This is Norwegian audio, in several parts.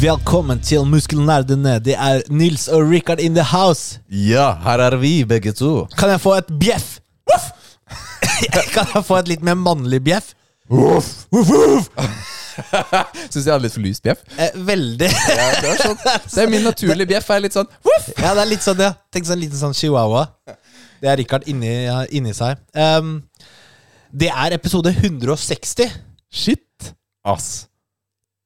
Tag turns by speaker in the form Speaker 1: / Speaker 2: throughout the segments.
Speaker 1: Velkommen til Muskelnerdene. Det er Nils og Richard in the house.
Speaker 2: Ja, her er vi begge to.
Speaker 1: Kan jeg få et bjeff? Voff! kan jeg få et litt mer mannlig bjeff?
Speaker 2: Syns jeg hadde litt for lyst bjeff.
Speaker 1: Eh, veldig.
Speaker 2: Ja, det, er sånn. det er min naturlige bjeff. er litt sånn voff!
Speaker 1: ja, det er litt sånn, ja. Tenk sånn liten sånn chihuahua. Det er Richard inni, ja, inni seg. Ehm, det er episode 160.
Speaker 2: Shit, ass.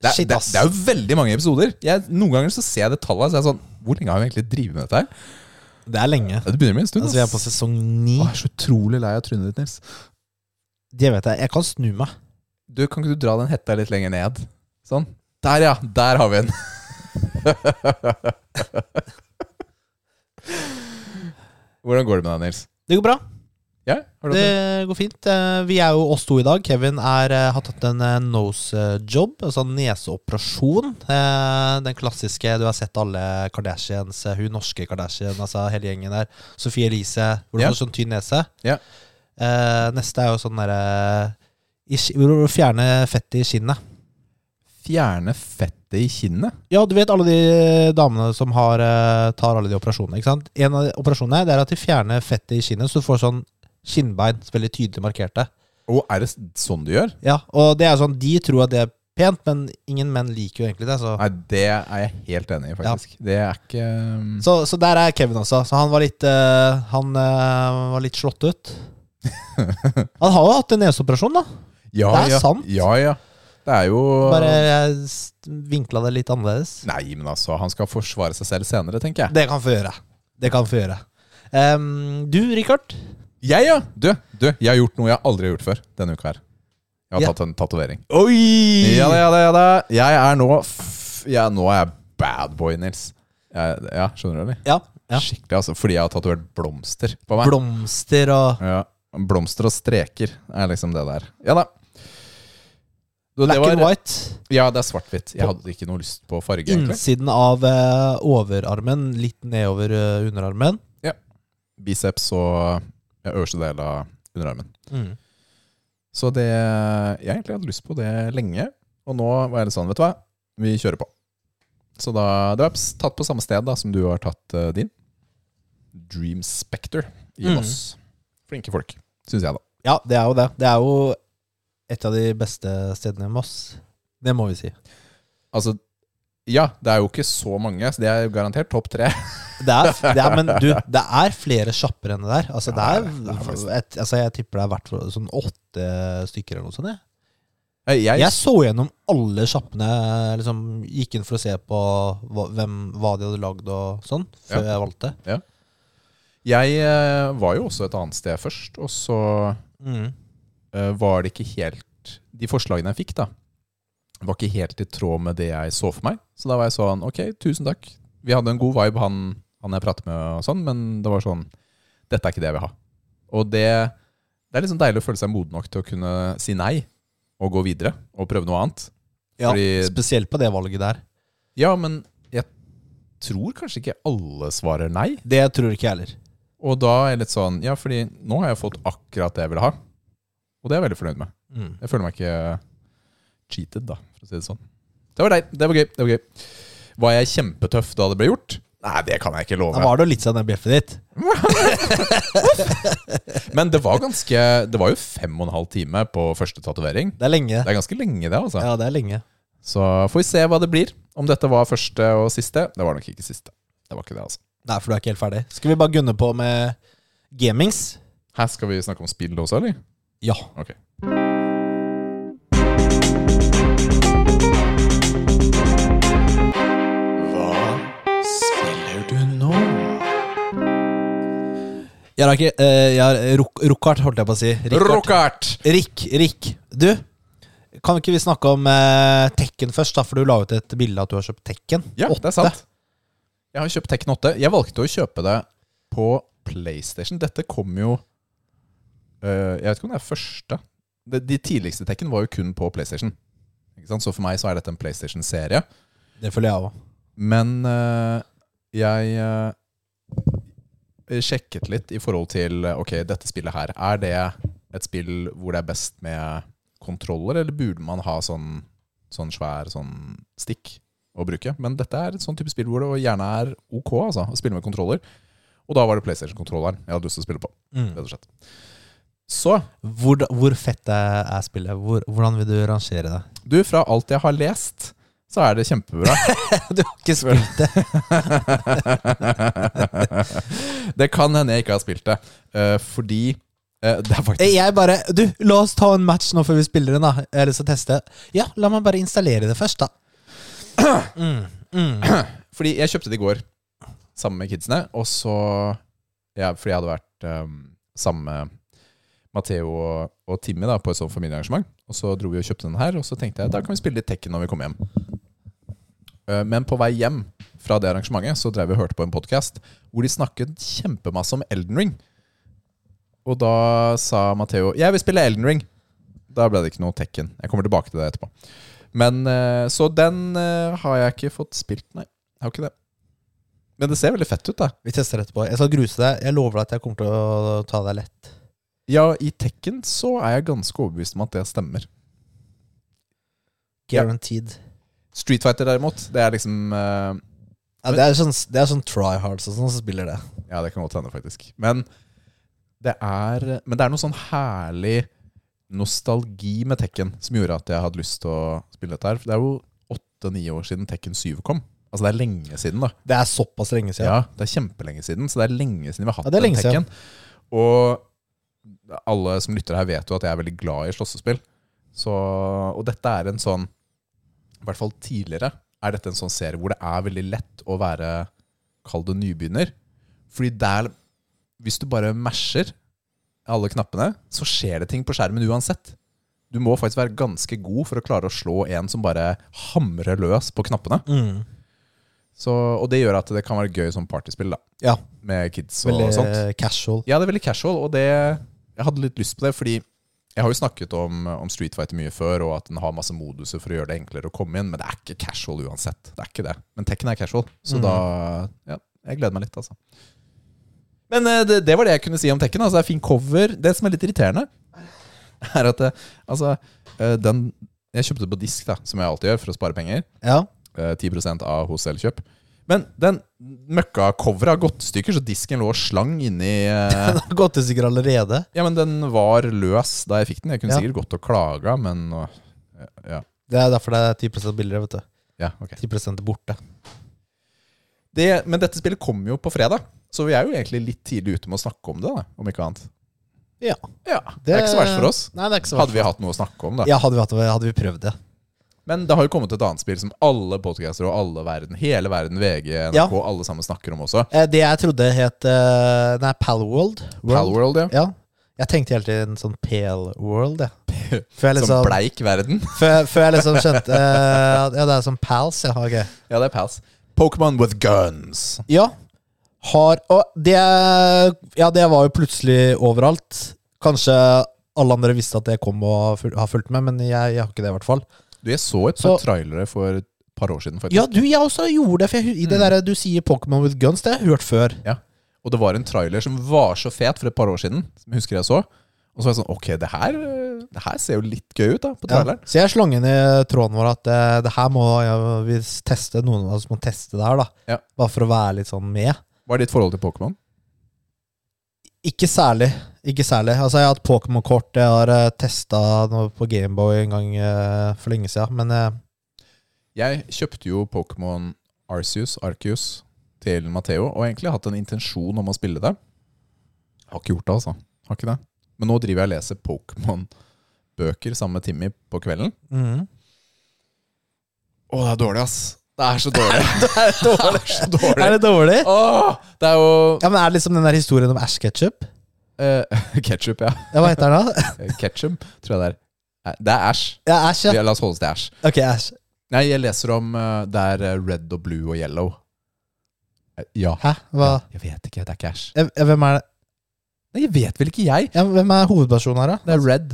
Speaker 2: Det er,
Speaker 1: Shit,
Speaker 2: det,
Speaker 1: ass.
Speaker 2: det er jo veldig mange episoder. Jeg, noen ganger så ser jeg det tallet, så er jeg sånn Hvor lenge har vi egentlig drevet med dette her?
Speaker 1: Det er lenge.
Speaker 2: Ja, Det begynner med en stund.
Speaker 1: Altså, vi er på sesong ni.
Speaker 2: Å, jeg er så utrolig lei av trynet ditt, Nils.
Speaker 1: Det vet jeg. Jeg kan snu meg.
Speaker 2: Du, Kan ikke du dra den hetta litt lenger ned? Sånn. Der, ja. Der har vi den. Hvordan går det med deg, Nils?
Speaker 1: Det går bra.
Speaker 2: Ja, har du hatt
Speaker 1: Det går fint. Eh, Vi er jo oss to i dag. Kevin er, eh, har tatt en eh, nose eh, job, altså neseoperasjon. Eh, Den klassiske Du har sett alle Kardashians, eh, hun norske Kardashian, altså hele gjengen der. Sophie Elise, hvor hun
Speaker 2: Ja.
Speaker 1: har sånn tynn nese.
Speaker 2: Ja.
Speaker 1: Eh, Neste er jo sånn derre i sk- Hvor du fjerner fettet i kinnet.
Speaker 2: Fjerne fettet i kinnet?
Speaker 1: Ja, du vet alle de damene som har, eh, tar alle de operasjonene. ikke sant? En av de operasjonene det er at de fjerner fettet i kinnet, så du får sånn kinnbein. så Veldig tydelig markerte.
Speaker 2: Å, er det sånn du gjør?
Speaker 1: Ja, og det er sånn, de tror at det er pent, men ingen menn liker jo egentlig det. Så,
Speaker 2: Nei, det er jeg helt enig i, faktisk. Det er ikke um,
Speaker 1: så, så der er Kevin også. Så han var litt, eh, han, eh, var litt slått ut. Han har jo hatt en neseoperasjon, da.
Speaker 2: ja,
Speaker 1: det er
Speaker 2: ja,
Speaker 1: sant.
Speaker 2: Ja, ja. Det er jo
Speaker 1: Bare jeg s- vinkla det litt annerledes.
Speaker 2: Nei, men altså, han skal forsvare seg selv senere, tenker jeg.
Speaker 1: Det kan få gjøre. Det kan få gjøre. Em, du, Richard.
Speaker 2: Jeg, ja! Du, du, jeg har gjort noe jeg aldri har gjort før denne uka her. Jeg har
Speaker 1: Ja.
Speaker 2: tatt en tatovering.
Speaker 1: Oi!
Speaker 2: Ja da, ja da, ja da. Jeg er nå f- ja, Nå er jeg bad boy, Nils. Jeg, ja, skjønner du, eller?
Speaker 1: Ja, ja.
Speaker 2: Skikkelig, altså. Fordi jeg har tatovert blomster på meg.
Speaker 1: Blomster og
Speaker 2: Ja, Blomster og streker er liksom det der. Ja da. Du,
Speaker 1: black
Speaker 2: det var-
Speaker 1: and white.
Speaker 2: Ja, det er svart-hvitt. Jeg hadde ikke noe lyst på farge. egentlig
Speaker 1: Innsiden av eh, overarmen, litt nedover eh, underarmen.
Speaker 2: Biceps og ja, øverste del av underarmen. Så det jeg egentlig hadde lyst på det lenge, og nå var jeg litt sånn, vet du hva, vi kjører på. Så da Det var s- tatt på samme sted da som du har tatt eh, din. Dream Spectre i
Speaker 1: Mm.
Speaker 2: Moss. Flinke folk, syns jeg, da.
Speaker 1: Ja, det er jo det. Det er jo et av de beste stedene i Moss. Det må vi si.
Speaker 2: Altså, ja, det er jo ikke så mange, så det er jo garantert topp tre.
Speaker 1: Det er, det er, men du, det er flere sjapper enn det der. Altså, det
Speaker 2: Ja,
Speaker 1: er,
Speaker 2: det er det. Det er faktisk-
Speaker 1: et, altså, jeg tipper det er hvert fall sånn åtte stykker eller noe sånt. Jeg,
Speaker 2: Jeg,
Speaker 1: jeg så gjennom alle sjappene, liksom, gikk inn for å se på hva, hvem, hva de hadde lagd og sånn, før jeg valgte.
Speaker 2: jeg eh, var jo også et annet sted først, og så
Speaker 1: Mm.
Speaker 2: eh, var det ikke helt De forslagene jeg fikk, da, var ikke helt i tråd med det jeg så for meg. Så da var jeg sånn Ok, tusen takk. Vi hadde en god vibe, han, han jeg pratet med, og sånn, men det var sånn Dette er ikke det jeg vil ha. Og det, det er liksom deilig å føle seg moden nok til å kunne si nei og gå videre og prøve noe annet.
Speaker 1: Ja,
Speaker 2: Fordi-
Speaker 1: spesielt på det valget der.
Speaker 2: Ja, men jeg tror kanskje ikke alle svarer nei.
Speaker 1: Det tror ikke jeg heller.
Speaker 2: Og da er jeg litt sånn Ja, fordi nå har jeg fått akkurat det jeg ville ha. Og det er jeg veldig fornøyd med.
Speaker 1: Mm.
Speaker 2: Jeg føler meg ikke cheated, da, for å si det sånn. Det var deg. Det var gøy. det Var gøy Var jeg kjempetøff da det ble gjort? Nei, det kan jeg ikke
Speaker 1: Da
Speaker 2: love.
Speaker 1: var det jo litt sånn det bjeffet ditt.
Speaker 2: Men det var ganske Det var jo fem og en halv time på første tatovering.
Speaker 1: Det er lenge.
Speaker 2: Det er ganske lenge, det, altså.
Speaker 1: Ja, det er lenge.
Speaker 2: Så får vi se hva det blir. Om dette var første og siste. Det var nok ikke siste. Det var ikke det, altså.
Speaker 1: Nei, for du er ikke helt ferdig. Skal vi bare gunne på med gamings?
Speaker 2: Her skal vi snakke om spill også, eller?
Speaker 1: Ja.
Speaker 2: Ok.
Speaker 3: Hva spiller du nå?
Speaker 1: Jeg har ikke eh, jeg har ruk, Rukkart, holdt jeg på å si. Rickard.
Speaker 2: Rockart!
Speaker 1: Rick, Rick. Du, kan ikke vi snakke om eh, Tekken først, da? For du la ut et bilde av at du har kjøpt Tekken.
Speaker 2: Ja,
Speaker 1: Åtte.
Speaker 2: det er sant. Jeg har kjøpt Tekken 8. Jeg valgte å kjøpe det på PlayStation. Dette kom jo øh, Jeg vet ikke om det er første. De, de tidligste Tekken var jo kun på PlayStation. Ikke sant? Så for meg så er dette en PlayStation-serie.
Speaker 1: Det føler jeg òg.
Speaker 2: Men øh, jeg øh, sjekket litt i forhold til øh, Ok, dette spillet her. Er det et spill hvor det er best med kontroller, eller burde man ha sånn, sånn svær sånn stikk? å bruke. Men dette er et sånn type spill hvor det gjerne er ok altså, å spille med kontroller. Og da var det PlayStation-kontrolleren jeg hadde lyst til å spille på. rett
Speaker 1: Mm.
Speaker 2: og slett. Så
Speaker 1: Hvor, hvor fett er er spillet? Hvor, hvordan vil du rangere det?
Speaker 2: du, fra alt jeg har lest, så er det kjempebra.
Speaker 1: Du har ikke spilt det?
Speaker 2: det kan hende jeg ikke har spilt det, eh, fordi eh, det er faktisk
Speaker 1: Jeg bare Du, la oss ta en match nå før vi spiller den, da. Eller så teste. Ja, la meg bare installere det først, da. Mm, mm.
Speaker 2: Fordi jeg kjøpte det i går sammen med kidsene, og så ja, Fordi jeg hadde vært ehm, sammen med Matheo og, og Timmy da, på et sånt familiearrangement. Og så dro vi og kjøpte den her, og så tenkte jeg da kan vi spille litt Tekken når vi kommer hjem. Eh, Men på vei hjem fra det arrangementet så drev vi og hørte på en podkast hvor de snakket kjempemasse om Elden Ring. Og da sa Matheo 'Jeg vil spille Elden Ring'. Da ble det ikke noe Tekken. Jeg kommer tilbake til det etterpå. Men eh, Så den eh, har jeg ikke fått spilt, nei. Jeg har ikke det. Men det ser veldig fett ut, da.
Speaker 1: Vi tester etterpå. Jeg skal gruse deg. Jeg lover deg at jeg kommer til å ta deg lett.
Speaker 2: Ja, i Tekken så er jeg ganske overbevist om at det stemmer.
Speaker 1: Guaranteed.
Speaker 2: Street Fighter derimot, det er liksom eh,
Speaker 1: Ja, det er sånn, det er sånn tryhards og sånn som spiller det.
Speaker 2: Ja, det kan godt hende, faktisk. Men det er Men det er noe sånn herlig nostalgi med Tekken som gjorde at jeg hadde lyst til å spille dette her. For det er jo åtte-ni år siden Tekken 7 kom. Altså det er lenge siden, da.
Speaker 1: Det er såpass lenge
Speaker 2: Ja.
Speaker 1: siden.
Speaker 2: Det er kjempelenge siden, så det er lenge siden vi har hatt
Speaker 1: Ja, det er
Speaker 2: den
Speaker 1: lenge siden.
Speaker 2: Tekken. Og alle som lytter her, vet jo at jeg er veldig glad i slåssespill. Så, og dette er en sånn I hvert fall tidligere er dette en sånn serie hvor det er veldig lett å være Kall det nybegynner. Fordi der Hvis du bare masher alle knappene, så skjer det ting på skjermen uansett. Du må faktisk være ganske god for å klare å slå en som bare hamrer løs på knappene.
Speaker 1: Mm.
Speaker 2: Så, og det gjør at det kan være gøy som partyspill, da.
Speaker 1: Ja.
Speaker 2: Med kids og
Speaker 1: Veldig
Speaker 2: sånt.
Speaker 1: eh, casual.
Speaker 2: Ja, det er veldig casual, og det Jeg hadde litt lyst på det, fordi jeg har jo snakket om, om Street Fighter mye før, og at den har masse moduser for å gjøre det enklere å komme inn, men det er ikke casual uansett. Det er ikke det. Men Tekken er casual, så
Speaker 1: Mhm.
Speaker 2: da Ja, jeg gleder meg litt, altså. Men eh, det, det var det jeg kunne si om Tekken. Altså, det er fin cover. Det som er litt irriterende, er at eh, altså eh, den Jeg kjøpte det på disk, da, som jeg alltid gjør, for å spare penger.
Speaker 1: Ja.
Speaker 2: Eh, 10 av hos Elkjøp. Men den møkka-coveret har gått i stykker, så disken lå og slang inni eh,
Speaker 1: Den har gått i stykker allerede.
Speaker 2: Ja, men den var løs da jeg fikk den. Jeg kunne
Speaker 1: Ja.
Speaker 2: sikkert gått og klaga, men åh, ja,
Speaker 1: Det er derfor det er 10 billigere, vet du.
Speaker 2: ja, ok.
Speaker 1: 10 er borte.
Speaker 2: Det, men dette spillet kom jo på fredag, så vi er jo egentlig litt tidlig ute med å snakke om det, da, om ikke annet.
Speaker 1: Ja.
Speaker 2: Ja, Det, er ikke så verst for oss.
Speaker 1: Nei, det er ikke så verst.
Speaker 2: Hadde vi hatt noe å snakke om, da.
Speaker 1: Ja, hadde vi, hatt, det, hadde vi prøvd det.
Speaker 2: Men det har jo kommet et annet spill som alle podcaster og alle verden, hele verden, VG, NRK,
Speaker 1: Ja.
Speaker 2: alle sammen snakker om også.
Speaker 1: Eh, Det jeg trodde het eh, Nei, Palworld. World.
Speaker 2: Palworld, ja.
Speaker 1: Ja. Jeg tenkte hele tiden sånn Pale World, jeg. Før jeg
Speaker 2: Som
Speaker 1: liksom,
Speaker 2: bleik verden.
Speaker 1: før, før jeg liksom skjønte eh, at- Ja, det er sånn Pals, ja. ok.
Speaker 2: Ja, det er Pals. Pokémon with guns.
Speaker 1: Ja. Har Og det Ja, det var jo plutselig overalt. Kanskje alle andre visste at det kom og ful- har fulgt med, men jeg, jeg har ikke det, i hvert fall.
Speaker 2: Du, jeg så et par
Speaker 1: Så-
Speaker 2: trailere for et par år siden, faktisk.
Speaker 1: Ja, du, jeg også gjorde det, for jeg, hu- i det der, du sier Pokémon with guns, det har jeg hørt før.
Speaker 2: Ja. Og det var en trailer som var så fet for et par år siden, som jeg husker jeg så. Og så var jeg sånn, ok, det her, eh, det her ser jo litt gøy ut da, på
Speaker 1: Ja.
Speaker 2: traileren.
Speaker 1: Så jeg slang inn i tråden vår at eh, det her må ja, vi teste, noen av oss må teste det her, da.
Speaker 2: Ja.
Speaker 1: Bare for å være litt sånn med.
Speaker 2: Hva er ditt forhold til Pokémon?
Speaker 1: Ikke særlig. Ikke særlig. Altså, jeg har hatt Pokémon-kort, jeg har uh, testa noe på Gameboy en gang eh, for lenge siden, men eh,
Speaker 2: Jeg kjøpte jo Pokémon Arceus, Arceus til Matheo, og egentlig hatt en intensjon om å spille det. Har ikke gjort det, altså. Har ikke det. Men nå driver jeg og leser Pokémon-bøker sammen med Timmy på kvelden.
Speaker 1: mhm.
Speaker 2: Å, det er dårlig, ass. Det er så dårlig. det er så dårlig.
Speaker 1: Er det dårlig?
Speaker 2: Åh, det er jo
Speaker 1: Ja, men Er det liksom den der historien om Ash Ketchup?
Speaker 2: eh, Ketchup, ja. Eh,
Speaker 1: Ja, hva heter den da?
Speaker 2: Ketchup, tror jeg det er. Eh, Det er Ash.
Speaker 1: Ja, Ash, ja.
Speaker 2: Ja, La oss holde oss til Ash.
Speaker 1: Ok, Ash.
Speaker 2: Nei, jeg leser om eh, det er eh, red og blue og yellow. Eh, Ja.
Speaker 1: Hæ? Hva?
Speaker 2: Ja, Jeg vet ikke, det er ikke Ash.
Speaker 1: Eh, eh, Hvem er det?
Speaker 2: Nei, jeg vet vel ikke jeg.
Speaker 1: Ja, hvem er hovedpersonen her, da?
Speaker 2: Det er red.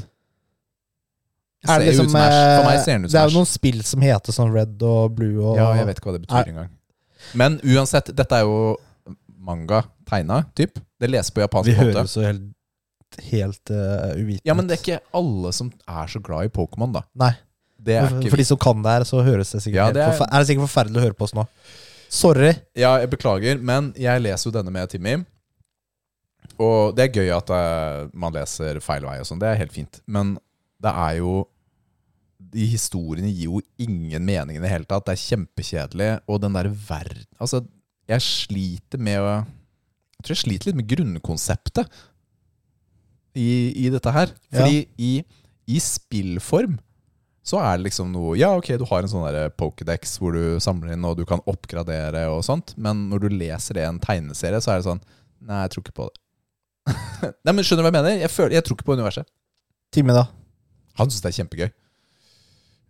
Speaker 2: Det
Speaker 1: Er
Speaker 2: ser
Speaker 1: det
Speaker 2: jo
Speaker 1: liksom,
Speaker 2: ut som Ash. For meg
Speaker 1: eh,
Speaker 2: ser den ut
Speaker 1: Det
Speaker 2: som
Speaker 1: er
Speaker 2: Ash.
Speaker 1: jo noen spill som heter sånn Red og Blue og
Speaker 2: Ja, jeg vet ikke hva det betyr engang. Men uansett, dette er jo manga tegna, typ. Det leses på
Speaker 1: Vi
Speaker 2: japansk måte.
Speaker 1: høres jo helt, helt eh, uvitende
Speaker 2: Ja, men
Speaker 1: ut.
Speaker 2: det er ikke alle som er så glad i Pokémon, da.
Speaker 1: Nei.
Speaker 2: Det er ikke
Speaker 1: For de som kan det her, så høres det sikkert
Speaker 2: Ja,
Speaker 1: helt
Speaker 2: det er-
Speaker 1: forfe- er det sikkert forferdelig å høre på oss nå. Sorry.
Speaker 2: Ja, jeg beklager, men jeg leser jo denne med Timmy. Og det er gøy at eh, man leser feil vei og sånn. Det er helt fint. Men det er jo De historiene gir jo ingen mening i det hele tatt. Det er kjempekjedelig. Og den der verden Altså, jeg sliter med å Jeg tror jeg sliter litt med grunnkonseptet i, i dette her.
Speaker 1: Ja.
Speaker 2: Fordi i, i spillform så er det liksom noe Ja, ok, du har en sånn der Pokédex hvor du samler inn og du kan oppgradere og sånt, men når du leser det i en tegneserie, så er det sånn Nei, jeg tror ikke på det. Nei, men Skjønner du hva jeg mener? Jeg, føler, jeg tror ikke på universet.
Speaker 1: Timmy, da.
Speaker 2: Han syns det er kjempegøy.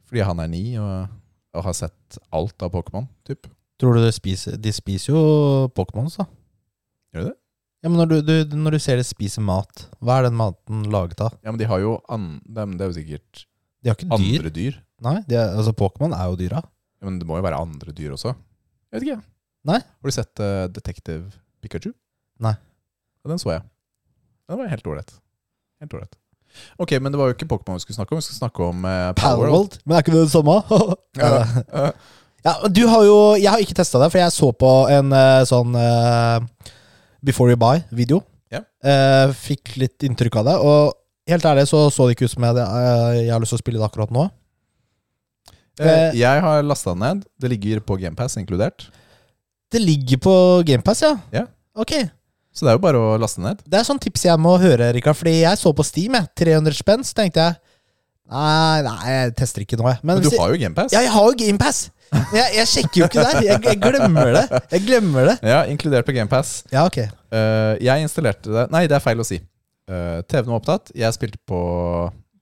Speaker 2: Fordi han er ni og, og har sett alt av Pokémon, typ.
Speaker 1: Tror du de spiser, de spiser jo Pokémons, da?
Speaker 2: Gjør de det?
Speaker 1: Ja, men når du, du, når du ser de spiser mat, hva er den maten laget av?
Speaker 2: Ja, men de har jo an, det, er- men det er jo sikkert
Speaker 1: De har ikke dyr.
Speaker 2: andre dyr.
Speaker 1: Nei, de er, altså Pokémon er jo dyra.
Speaker 2: Ja, men det må jo være andre dyr også. Jeg vet ikke. jeg.
Speaker 1: Nei.
Speaker 2: Har du sett eh, Detective Pikachu?
Speaker 1: Nei.
Speaker 2: Ja, den så jeg. Den var helt ålreit. Helt ålreit. Ok, men det var jo ikke Pokémon vi skulle snakke om. Vi skulle snakke om eh, Palworld.
Speaker 1: Palworld, men er ikke det det samme?
Speaker 2: Ja, eh,
Speaker 1: Ja, men du har jo Jeg har ikke testa det, for jeg så på en eh, sånn eh, Before You Buy-video.
Speaker 2: Ja.
Speaker 1: Eh, fikk litt inntrykk av det. Og helt ærlig så så det ikke ut som jeg, eh, jeg har lyst til å spille det akkurat nå.
Speaker 2: eh,
Speaker 1: Eh.
Speaker 2: jeg har lasta den ned. Det ligger på GamePass inkludert.
Speaker 1: Det ligger på GamePass, ja?
Speaker 2: Ja.
Speaker 1: Ok.
Speaker 2: Så det er jo bare å laste den ned.
Speaker 1: Det er sånn tips jeg må høre, Rikard. Fordi jeg så på Steam, jeg. 300 spenn, så tenkte jeg Nei, nei, jeg tester ikke nå, jeg. Men
Speaker 2: Men du
Speaker 1: hvis jeg-
Speaker 2: har jo GamePass.
Speaker 1: Ja, jeg har jo GamePass! Jeg, jeg sjekker jo ikke der. Jeg, jeg glemmer det. Jeg glemmer det.
Speaker 2: Ja, inkludert på GamePass.
Speaker 1: Ja, ok.
Speaker 2: Eh, jeg installerte det Nei, det er feil å si. Eh, TV-en var opptatt. Jeg spilte på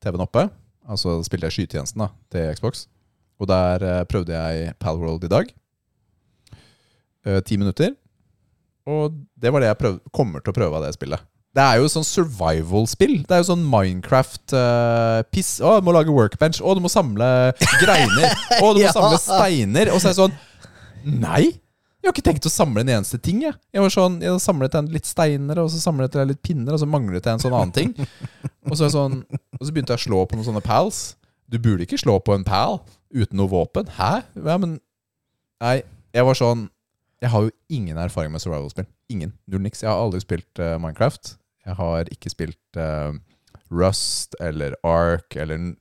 Speaker 2: TV-en oppe. Altså spilte jeg skytjenesten da til Xbox. Og der eh, prøvde jeg Palworld i dag. Eh, Ti minutter. Og det var det jeg prøv, kommer til å prøve av det spillet. Det er jo sånn survival-spill. Det er jo sånn Minecraft-piss. å, du må lage workbench. Å, du må samle greiner. Å, du må
Speaker 1: Ja.
Speaker 2: samle steiner. Og så er det sånn Nei! Jeg har ikke tenkt å samle en eneste ting. Jeg Jeg var sånn, jeg samlet jeg litt steiner, og så samlet jeg litt pinner, og så manglet jeg en sånn annen ting. Og så, er jeg sånn, og så begynte jeg å slå på noen sånne pals. Du burde ikke slå på en pal uten noe våpen. Hæ? Ja, men Nei, jeg var sånn Jeg har jo ingen erfaring med survival-spill. Ingen. Null niks. Jeg har aldri spilt eh, Minecraft. Jeg har ikke spilt eh, Rust eller Ark eller n-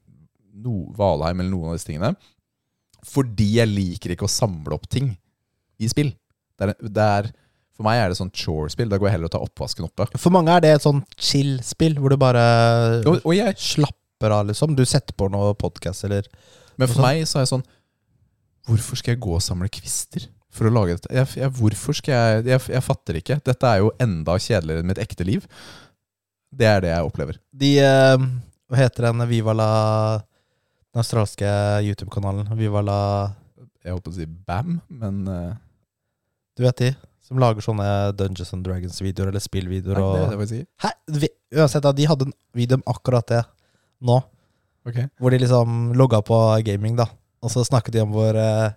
Speaker 2: no, Valheim eller noen av disse tingene. Fordi jeg liker ikke å samle opp ting i spill. Det er, det er, for meg er det sånn chore-spill. Da går jeg heller og tar oppvasken oppe.
Speaker 1: For mange er det et sånn chill-spill, hvor du bare
Speaker 2: Og, og jeg
Speaker 1: slapper av, liksom. Du setter på noe podkast eller
Speaker 2: Men for
Speaker 1: Sånn.
Speaker 2: meg så er jeg sånn Hvorfor skal jeg gå og samle kvister for å lage dette? Jeg, jeg, hvorfor skal jeg, jeg Jeg fatter ikke. Dette er jo enda kjedeligere enn mitt ekte liv. Det er det jeg opplever.
Speaker 1: De eh, Hva heter den Viva la Den australske YouTube-kanalen Viva la
Speaker 2: Jeg holdt på å si bam, men eh,
Speaker 1: Du vet de? Som lager sånne Dungeons and Dragons-videoer eller
Speaker 2: nei,
Speaker 1: spillvideoer
Speaker 2: det er
Speaker 1: og
Speaker 2: det jeg vil si.
Speaker 1: Hæ? Vi, uansett, da, de hadde en video om akkurat det nå.
Speaker 2: Ok.
Speaker 1: Hvor de liksom logga på gaming, da. Og så snakket de om hvor eh,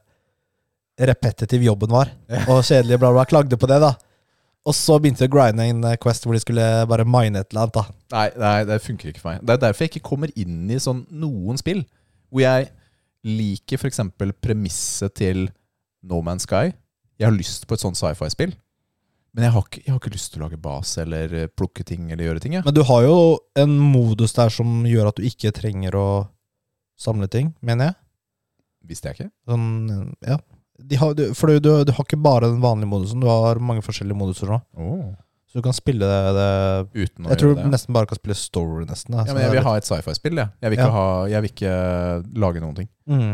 Speaker 1: repetitiv jobben var. Og kjedelig, bla, bla. Klagde på det, da. Og så begynte de å grinde en eh, Quest hvor de skulle bare mine et eller annet. da
Speaker 2: Nei, nei, det funker ikke for meg. Det er derfor jeg ikke kommer inn i sånn noen spill hvor jeg liker f.eks. premisset til No Man's Sky. Jeg har lyst på et sånt sci-fi-spill, men jeg har, ikke, jeg har ikke lyst til å lage base eller eh, plukke ting eller gjøre ting. Jeg.
Speaker 1: Men du har jo en modus der som gjør at du ikke trenger å samle ting, mener jeg.
Speaker 2: Visste jeg ikke.
Speaker 1: Sånn, ja. De har, du, for du, du, du har ikke bare den vanlige modusen, du har mange forskjellige moduser nå.
Speaker 2: Oh.
Speaker 1: Så du kan spille det, det
Speaker 2: Uten å
Speaker 1: Jeg tror
Speaker 2: gjøre
Speaker 1: du
Speaker 2: det.
Speaker 1: nesten bare kan spille story, nesten. da.
Speaker 2: Ja,
Speaker 1: Så
Speaker 2: men jeg
Speaker 1: det
Speaker 2: vil
Speaker 1: er
Speaker 2: ha et sci-fi-spill. Jeg. Jeg, vil
Speaker 1: Ja.
Speaker 2: ikke ha- jeg vil ikke lage noen ting.
Speaker 1: litt- mm.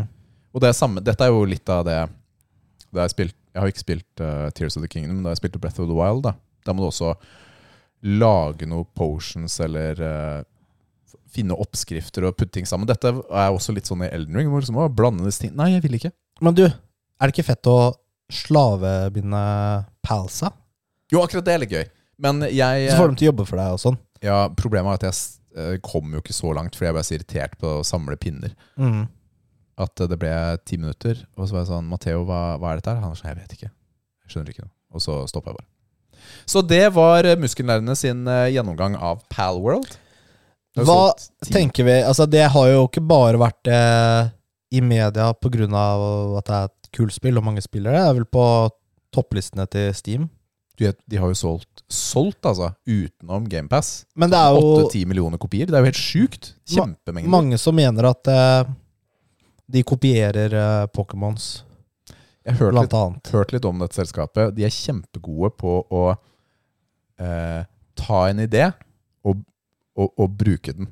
Speaker 2: Og det er samme, dette er jo litt av det, det jeg, har spilt, jeg har ikke spilt eh, Tears of the Kingdom, men da jeg spilte Breath of the Wild, da, da må du også lage noen potions eller eh, finne oppskrifter og putte ting sammen. Dette er også litt sånn i Elden Ring, hvor du må blande disse ting. Nei, jeg vil ikke.
Speaker 1: Men du, er det ikke fett å slavebinde palsa?
Speaker 2: Jo, akkurat det er litt gøy. Men jeg
Speaker 1: Så får de til å jobbe for deg og sånn.
Speaker 2: ja, Problemet er at jeg s- eh, kom jo ikke så langt, fordi jeg ble så irritert på å samle pinner.
Speaker 1: Mm.
Speaker 2: at det ble ti minutter, og så var jeg sånn Matteo, hva, hva er dette her? Han var sånn, jeg vet ikke. Jeg skjønner ikke noe. Og så stoppa jeg bare. Så det var eh, muskellærerne sin eh, gjennomgang av Palworld. Det er jo
Speaker 1: Hva
Speaker 2: solgt ti-
Speaker 1: tenker vi? Altså, det har jo ikke bare vært eh, i media pga. at det er et kult spill og mange spillere. Det er vel på topplistene til Steam.
Speaker 2: Du vet, de har jo solgt, solgt altså, utenom GamePass.
Speaker 1: Men det er jo
Speaker 2: 8-10 millioner kopier. Det er jo helt sjukt. Kjempemengder.
Speaker 1: mange som mener at eh, de kopierer eh, Pokémons,
Speaker 2: Jeg har hørt litt,
Speaker 1: blant annet.
Speaker 2: hørt litt om dette selskapet. De er kjempegode på å eh, ta en idé og, og, og bruke den.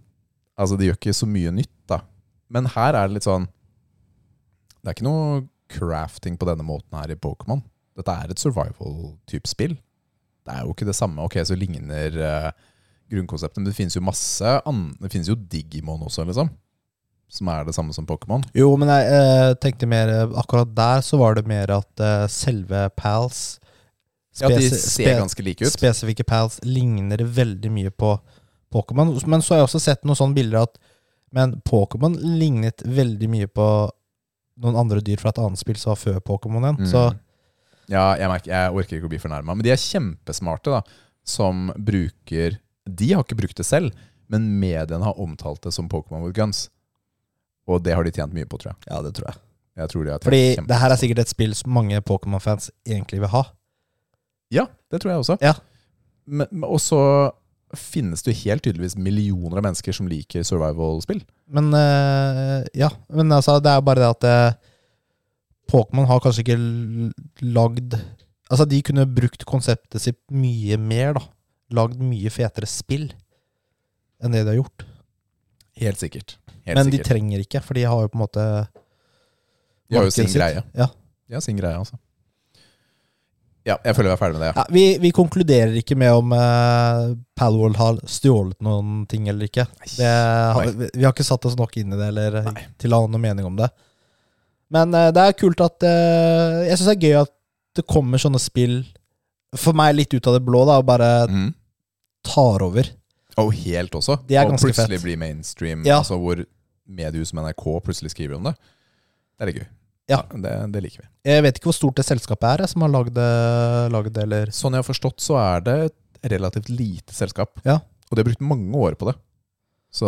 Speaker 2: Altså, de gjør ikke så mye nytt, da. Men her er det litt sånn Det er ikke noe crafting på denne måten her i Pokémon. Dette er et survival-type spill. Det er jo ikke det samme. Ok, så ligner eh, grunnkonseptet, men det finnes jo masse an Det finnes jo Digimon også, liksom. Som er det samme som Pokémon.
Speaker 1: Jo, men jeg eh, tenkte mer eh, Akkurat der så var det mer at eh, selve pals
Speaker 2: Ja, de
Speaker 1: spesi-
Speaker 2: ser
Speaker 1: spe-
Speaker 2: ganske like ut.
Speaker 1: Spesifikke pals ligner veldig mye på Pokémon. Men så har jeg også sett noen sånne bilder at Men Pokémon lignet veldig mye på noen andre dyr fra et annet spill som var før Pokémon igjen.
Speaker 2: Mm.
Speaker 1: Så
Speaker 2: Ja, jeg, merker, jeg orker ikke å bli fornærma. Men de er kjempesmarte, da. Som bruker De har ikke brukt det selv, men mediene har omtalt det som Pokémon with guns. Og det har de tjent mye på, tror jeg.
Speaker 1: Ja, det tror jeg.
Speaker 2: jeg tror de har tjent
Speaker 1: Fordi
Speaker 2: kjempe-
Speaker 1: det her er sikkert et spill som mange Pokémon-fans egentlig vil ha.
Speaker 2: Ja, det tror jeg også.
Speaker 1: Ja.
Speaker 2: Men, men- og så finnes det jo helt tydeligvis millioner av mennesker som liker survival-spill.
Speaker 1: Men eh, ja, men altså, det er bare det at eh, Pokémon har kanskje ikke l- lagd Altså, de kunne brukt konseptet sitt mye mer, da. Lagd mye fetere spill enn det de har gjort.
Speaker 2: Helt sikkert. Helt
Speaker 1: men de
Speaker 2: sikkert.
Speaker 1: trenger ikke, for de har jo på en måte
Speaker 2: De har jo
Speaker 1: markedet
Speaker 2: sin
Speaker 1: sitt.
Speaker 2: greie.
Speaker 1: Ja.
Speaker 2: De har sin greie, altså. Ja, jeg føler vi er ferdig med det.
Speaker 1: Ja, vi, vi konkluderer ikke med om uh, Palworld har stjålet noen ting eller ikke. Det, har, vi, vi har ikke satt oss nok inn i det eller til å ha noen mening om det. Men eh, det er kult at eh, Jeg syns det er gøy at det kommer sånne spill for meg litt ut av det blå da, og bare
Speaker 2: Ja. Mm.
Speaker 1: tar over.
Speaker 2: Og helt også.
Speaker 1: Det er
Speaker 2: og
Speaker 1: ganske
Speaker 2: plutselig
Speaker 1: fett.
Speaker 2: blir mainstream,
Speaker 1: Ja.
Speaker 2: altså hvor mediehus som NRK plutselig skriver om det. Det er litt gøy.
Speaker 1: Ja.
Speaker 2: det, det liker vi.
Speaker 1: Jeg vet ikke hvor stort det selskapet er jeg, som har lagd det, lagd det, eller
Speaker 2: Sånn jeg har forstått, så er det et relativt lite selskap.
Speaker 1: Ja.
Speaker 2: Og de har brukt mange år på det. Så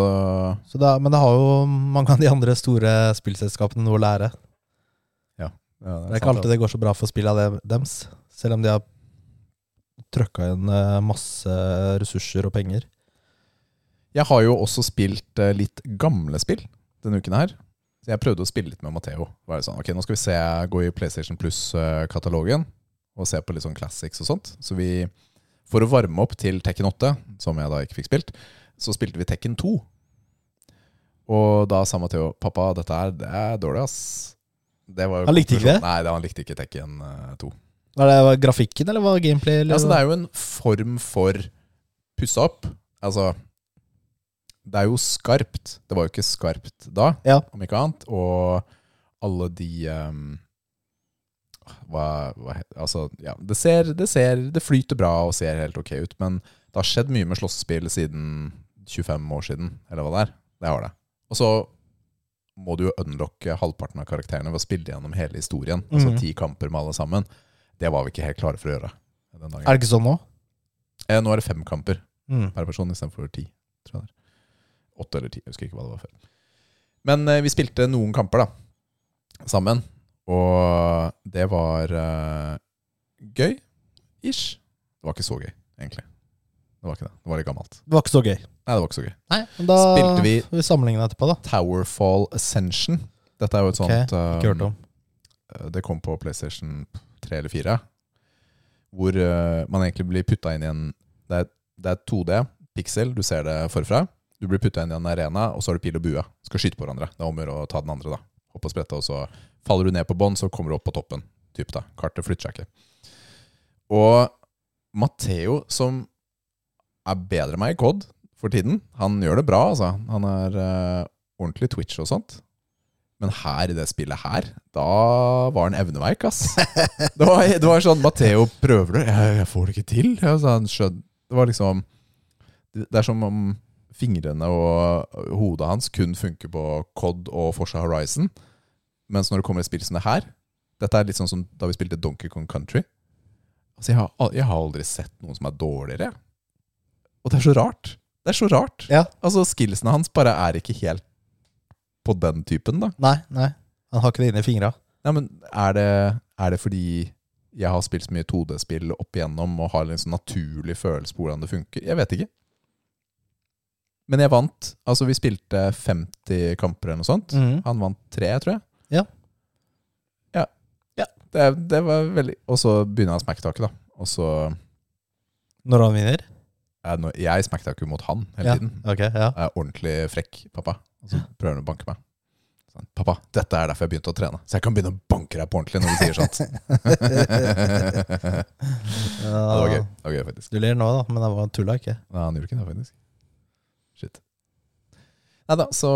Speaker 1: så det, er- Men det har jo mange av de andre store spillselskapene noe å lære.
Speaker 2: ja,
Speaker 1: Det er ikke
Speaker 2: sant,
Speaker 1: alltid det går så bra for spillet av det- dems, selv om de har trøkka inn eh, masse ressurser og penger.
Speaker 2: Jeg har jo også spilt eh, litt gamle spill denne uken her. Så jeg prøvde å spille litt med Matheo. Var det sånn, ok, Nå skal vi se, gå i PlayStation Plus-katalogen og se på litt sånn classics og sånt. Så vi, for å varme opp til Tekken 8, som jeg da ikke fikk spilt, så spilte vi Tekken 2. Og da sa Matheo pappa, dette her, det er dårlig, ass. Det var jo
Speaker 1: Han likte ikke
Speaker 2: konklusjonen.
Speaker 1: det?
Speaker 2: Nei, det, han likte ikke Tekken eh, 2.
Speaker 1: Var det var grafikken, eller var det gameplay? Eller?
Speaker 2: Ja, så det er jo en form for pussa opp. Altså Det er jo skarpt. Det var jo ikke skarpt da,
Speaker 1: Ja.
Speaker 2: om ikke annet. Og alle de ehm, hva, hva, he- Altså, ja. Det ser, det ser Det flyter bra og ser helt ok ut, men det har skjedd mye med slåssespill siden 25 år siden, eller hva det er. Det har det. Og så må du jo unlocke halvparten av karakterene ved å spille gjennom hele historien. Altså
Speaker 1: Mhm.
Speaker 2: ti kamper med alle sammen. Det var vi ikke helt klare for å gjøre. Den dagen.
Speaker 1: er det ikke sånn nå?
Speaker 2: Eh, nå er det fem kamper
Speaker 1: Mm.
Speaker 2: per person istedenfor ti. tror jeg det er. Åtte eller ti, jeg husker ikke hva det var før. Men eh, vi spilte noen kamper da, sammen, og det var eh, gøy. Ish. Det var ikke så gøy, egentlig. Det var ikke det. Det var litt gammelt.
Speaker 1: Det var ikke så gøy.
Speaker 2: Nei, det var ikke så gøy.
Speaker 1: Nei, men da
Speaker 2: Spilte vi-
Speaker 1: får vi sammenligne etterpå, da.
Speaker 2: Towerfall Ascension. Dette er jo et
Speaker 1: Ok,
Speaker 2: sånt
Speaker 1: Ikke hørt om.
Speaker 2: eh, Det kom på PlayStation 3 eller 4. Hvor eh, man egentlig blir putta inn i en Det er, det er 2D, piksel, du ser det forfra. Du blir putta inn i en arena, og så har du pil og bue. Skal skyte på hverandre. Det er om å gjøre å ta den andre, da. Hopp og sprette, og så faller du ned på bånn, så kommer du opp på toppen. Typ, da. Kartet flytter seg ikke. Og Matheo, som er bedre enn meg i COD for tiden Han gjør det bra, altså. Han er eh, ordentlig Twitch og sånt. Men her i det spillet her, da var han evneveik, ass. Det var, det var sånn Matheo, prøver du? Jeg, jeg får det ikke til. Jeg sa, han skjøn- det var liksom Det er som om fingrene og hodet hans kun funker på COD og Forsa Horizon. Mens når det kommer et spill som det her Dette er litt sånn som da vi spilte Donkey Kong Country. Altså, jeg har, al- jeg har aldri sett noen som er dårligere. Og det er så rart. Det er så rart.
Speaker 1: Ja.
Speaker 2: Altså, skillsene hans bare er ikke helt på den typen, da.
Speaker 1: Nei, nei. Han har ikke det inni fingra.
Speaker 2: Nei, men er det, er det fordi jeg har spilt så mye 2D-spill opp igjennom og har en sånn naturlig følelse på hvordan det funker? Jeg vet ikke. Men jeg vant. Altså, vi spilte 50 kamper eller noe sånt. Han vant tre, tror jeg.
Speaker 1: Mm. Ja.
Speaker 2: Ja.
Speaker 1: Ja.
Speaker 2: Det, det var veldig Og så begynner han smacktaket, da. Og så
Speaker 1: Når han vinner.
Speaker 2: er det noe- Jeg smacktaker jo mot han hele
Speaker 1: Ja.
Speaker 2: tiden.
Speaker 1: Ok, ja.
Speaker 2: Jeg er ordentlig frekk, pappa. Og så prøver han å banke meg. Sånn, pappa, dette er derfor jeg begynte å trene. Så jeg kan begynne å banke deg på ordentlig når du sier sånt. ja, det var gøy. Det var gøy, faktisk.
Speaker 1: Du ler nå, da, men jeg var tulla ikke.
Speaker 2: Nei, han gjorde ikke det, faktisk. Shit. Nei da, så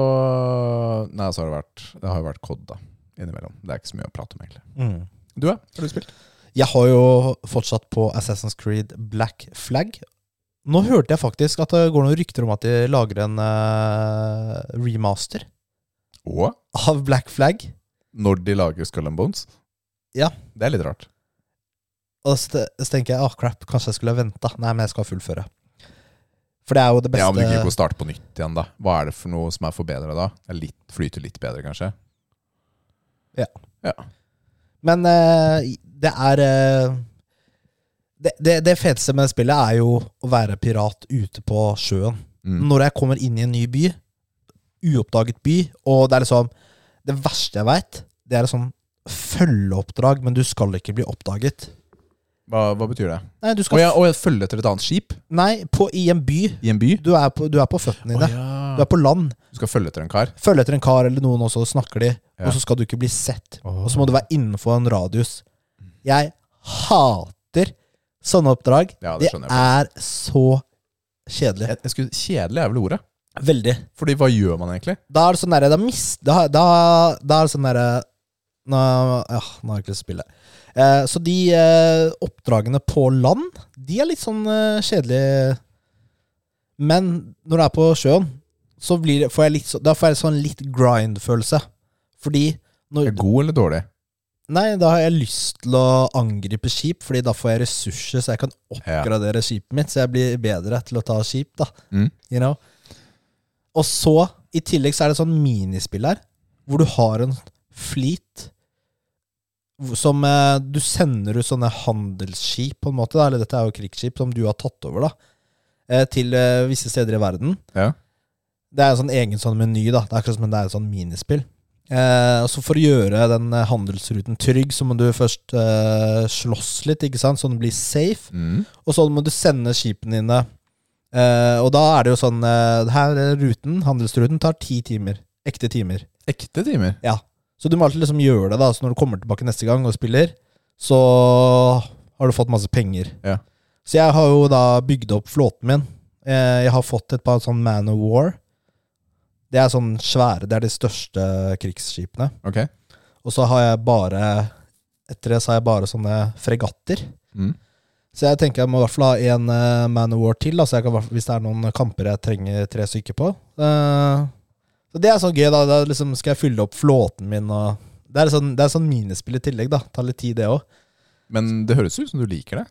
Speaker 2: Nei, så har det vært Det har jo vært kod, da. Innimellom. Det er ikke så mye å prate om, egentlig. Du, ja? Har du spilt?
Speaker 1: Jeg har jo fortsatt på Assassin's Creed Black Flag. Nå hørte jeg faktisk at det går noen rykter om at de lager en eh, remaster
Speaker 2: Og
Speaker 1: av Black Flag.
Speaker 2: når de lager Skull and Bones.
Speaker 1: Ja.
Speaker 2: Det er litt rart.
Speaker 1: Og så, te- så tenker jeg ah, crap, kanskje jeg skulle ha venta. Nei, men jeg skal fullføre. For det er jo det
Speaker 2: Ja, men du
Speaker 1: beste
Speaker 2: gidder ikke å starte på nytt igjen, da. Hva er det for noe som er forbedra da? Det er Litt, flyter litt bedre, kanskje?
Speaker 1: Men eh, det er eh, det, det, det feteste med det spillet er jo å være pirat ute på sjøen.
Speaker 2: Mm.
Speaker 1: Når jeg kommer inn i en ny by, uoppdaget by, og det er liksom Det verste jeg veit, det er et sånn følgeoppdrag, men du skal ikke bli oppdaget.
Speaker 2: Hva, hva betyr det?
Speaker 1: Nei, du
Speaker 2: Å
Speaker 1: skal
Speaker 2: ja, å ja, følge etter et annet skip
Speaker 1: Nei, på, i en by.
Speaker 2: i en by?
Speaker 1: Du er på, du er på føttene
Speaker 2: Å
Speaker 1: dine. Du
Speaker 2: ja.
Speaker 1: er på land.
Speaker 2: Du skal følge etter en kar?
Speaker 1: Følge etter en kar eller noen, og så snakker de.
Speaker 2: Ja.
Speaker 1: Og så skal du ikke bli sett. Og så må du være innenfor en radius. Jeg hater sånne oppdrag.
Speaker 2: Ja, det
Speaker 1: det
Speaker 2: skjønner jeg.
Speaker 1: er så kjedelig.
Speaker 2: jeg, jeg skulle, kjedelig er vel ordet?
Speaker 1: Veldig.
Speaker 2: Fordi hva gjør man egentlig?
Speaker 1: Da er det sånn derre da, mis- da, da, da er det sånn derre nå, ja, nå har jeg ikke lyst til å spille. Eh, så de eh, oppdragene på land, de er litt sånn eh, kjedelige. Men når det er på sjøen, så blir det, får jeg litt, så, da får jeg sånn litt grind-følelse. Fordi når,
Speaker 2: Er god eller dårlig?
Speaker 1: Nei, da har jeg lyst til å angripe skip, Fordi da får jeg ressurser, så jeg kan oppgradere skipet mitt. Så jeg blir bedre til å ta skip, da.
Speaker 2: Mm.
Speaker 1: You know? Og så, i tillegg, så er det sånn minispill her, hvor du har en fleet hvor- som eh, Du sender ut sånne handelsskip, på en måte, da, eller dette er jo krigsskip, som du har tatt over, da, eh, til eh, visse steder i verden.
Speaker 2: Ja.
Speaker 1: Det er en sånn egen sånn meny, da. Det er akkurat som det er et sånn minispill. Eh, og så For å gjøre den eh, handelsruten trygg, så må du først eh, slåss litt, ikke sant? så den blir safe.
Speaker 2: Mm.
Speaker 1: Og så må du sende skipene dine. Eh, og da er det jo sånn eh, Her er ruten, handelsruten tar ti timer. Ekte timer.
Speaker 2: Ekte timer?
Speaker 1: Så du må alltid liksom gjøre det, da. Så når du kommer tilbake neste gang og spiller, så har du fått masse penger.
Speaker 2: Ja.
Speaker 1: Så jeg har jo da bygd opp flåten min. Eh, Jeg har fått et par sånn Man of War. Det er sånn svære, det er de største krigsskipene.
Speaker 2: Ok.
Speaker 1: Og så har jeg bare Etter det så har jeg bare sånne fregatter.
Speaker 2: Mm.
Speaker 1: Så jeg tenker jeg må i hvert fall ha en eh, Man of War til, da, så jeg kan, i hvert fall- hvis det er noen kamper jeg trenger tre stykker på. Eh, så det er sånn gøy, da. da liksom skal jeg fylle opp flåten min og Det er sånn, det er sånn minispill i tillegg, da. Tar litt tid, det òg.
Speaker 2: Men det høres ut som du liker det.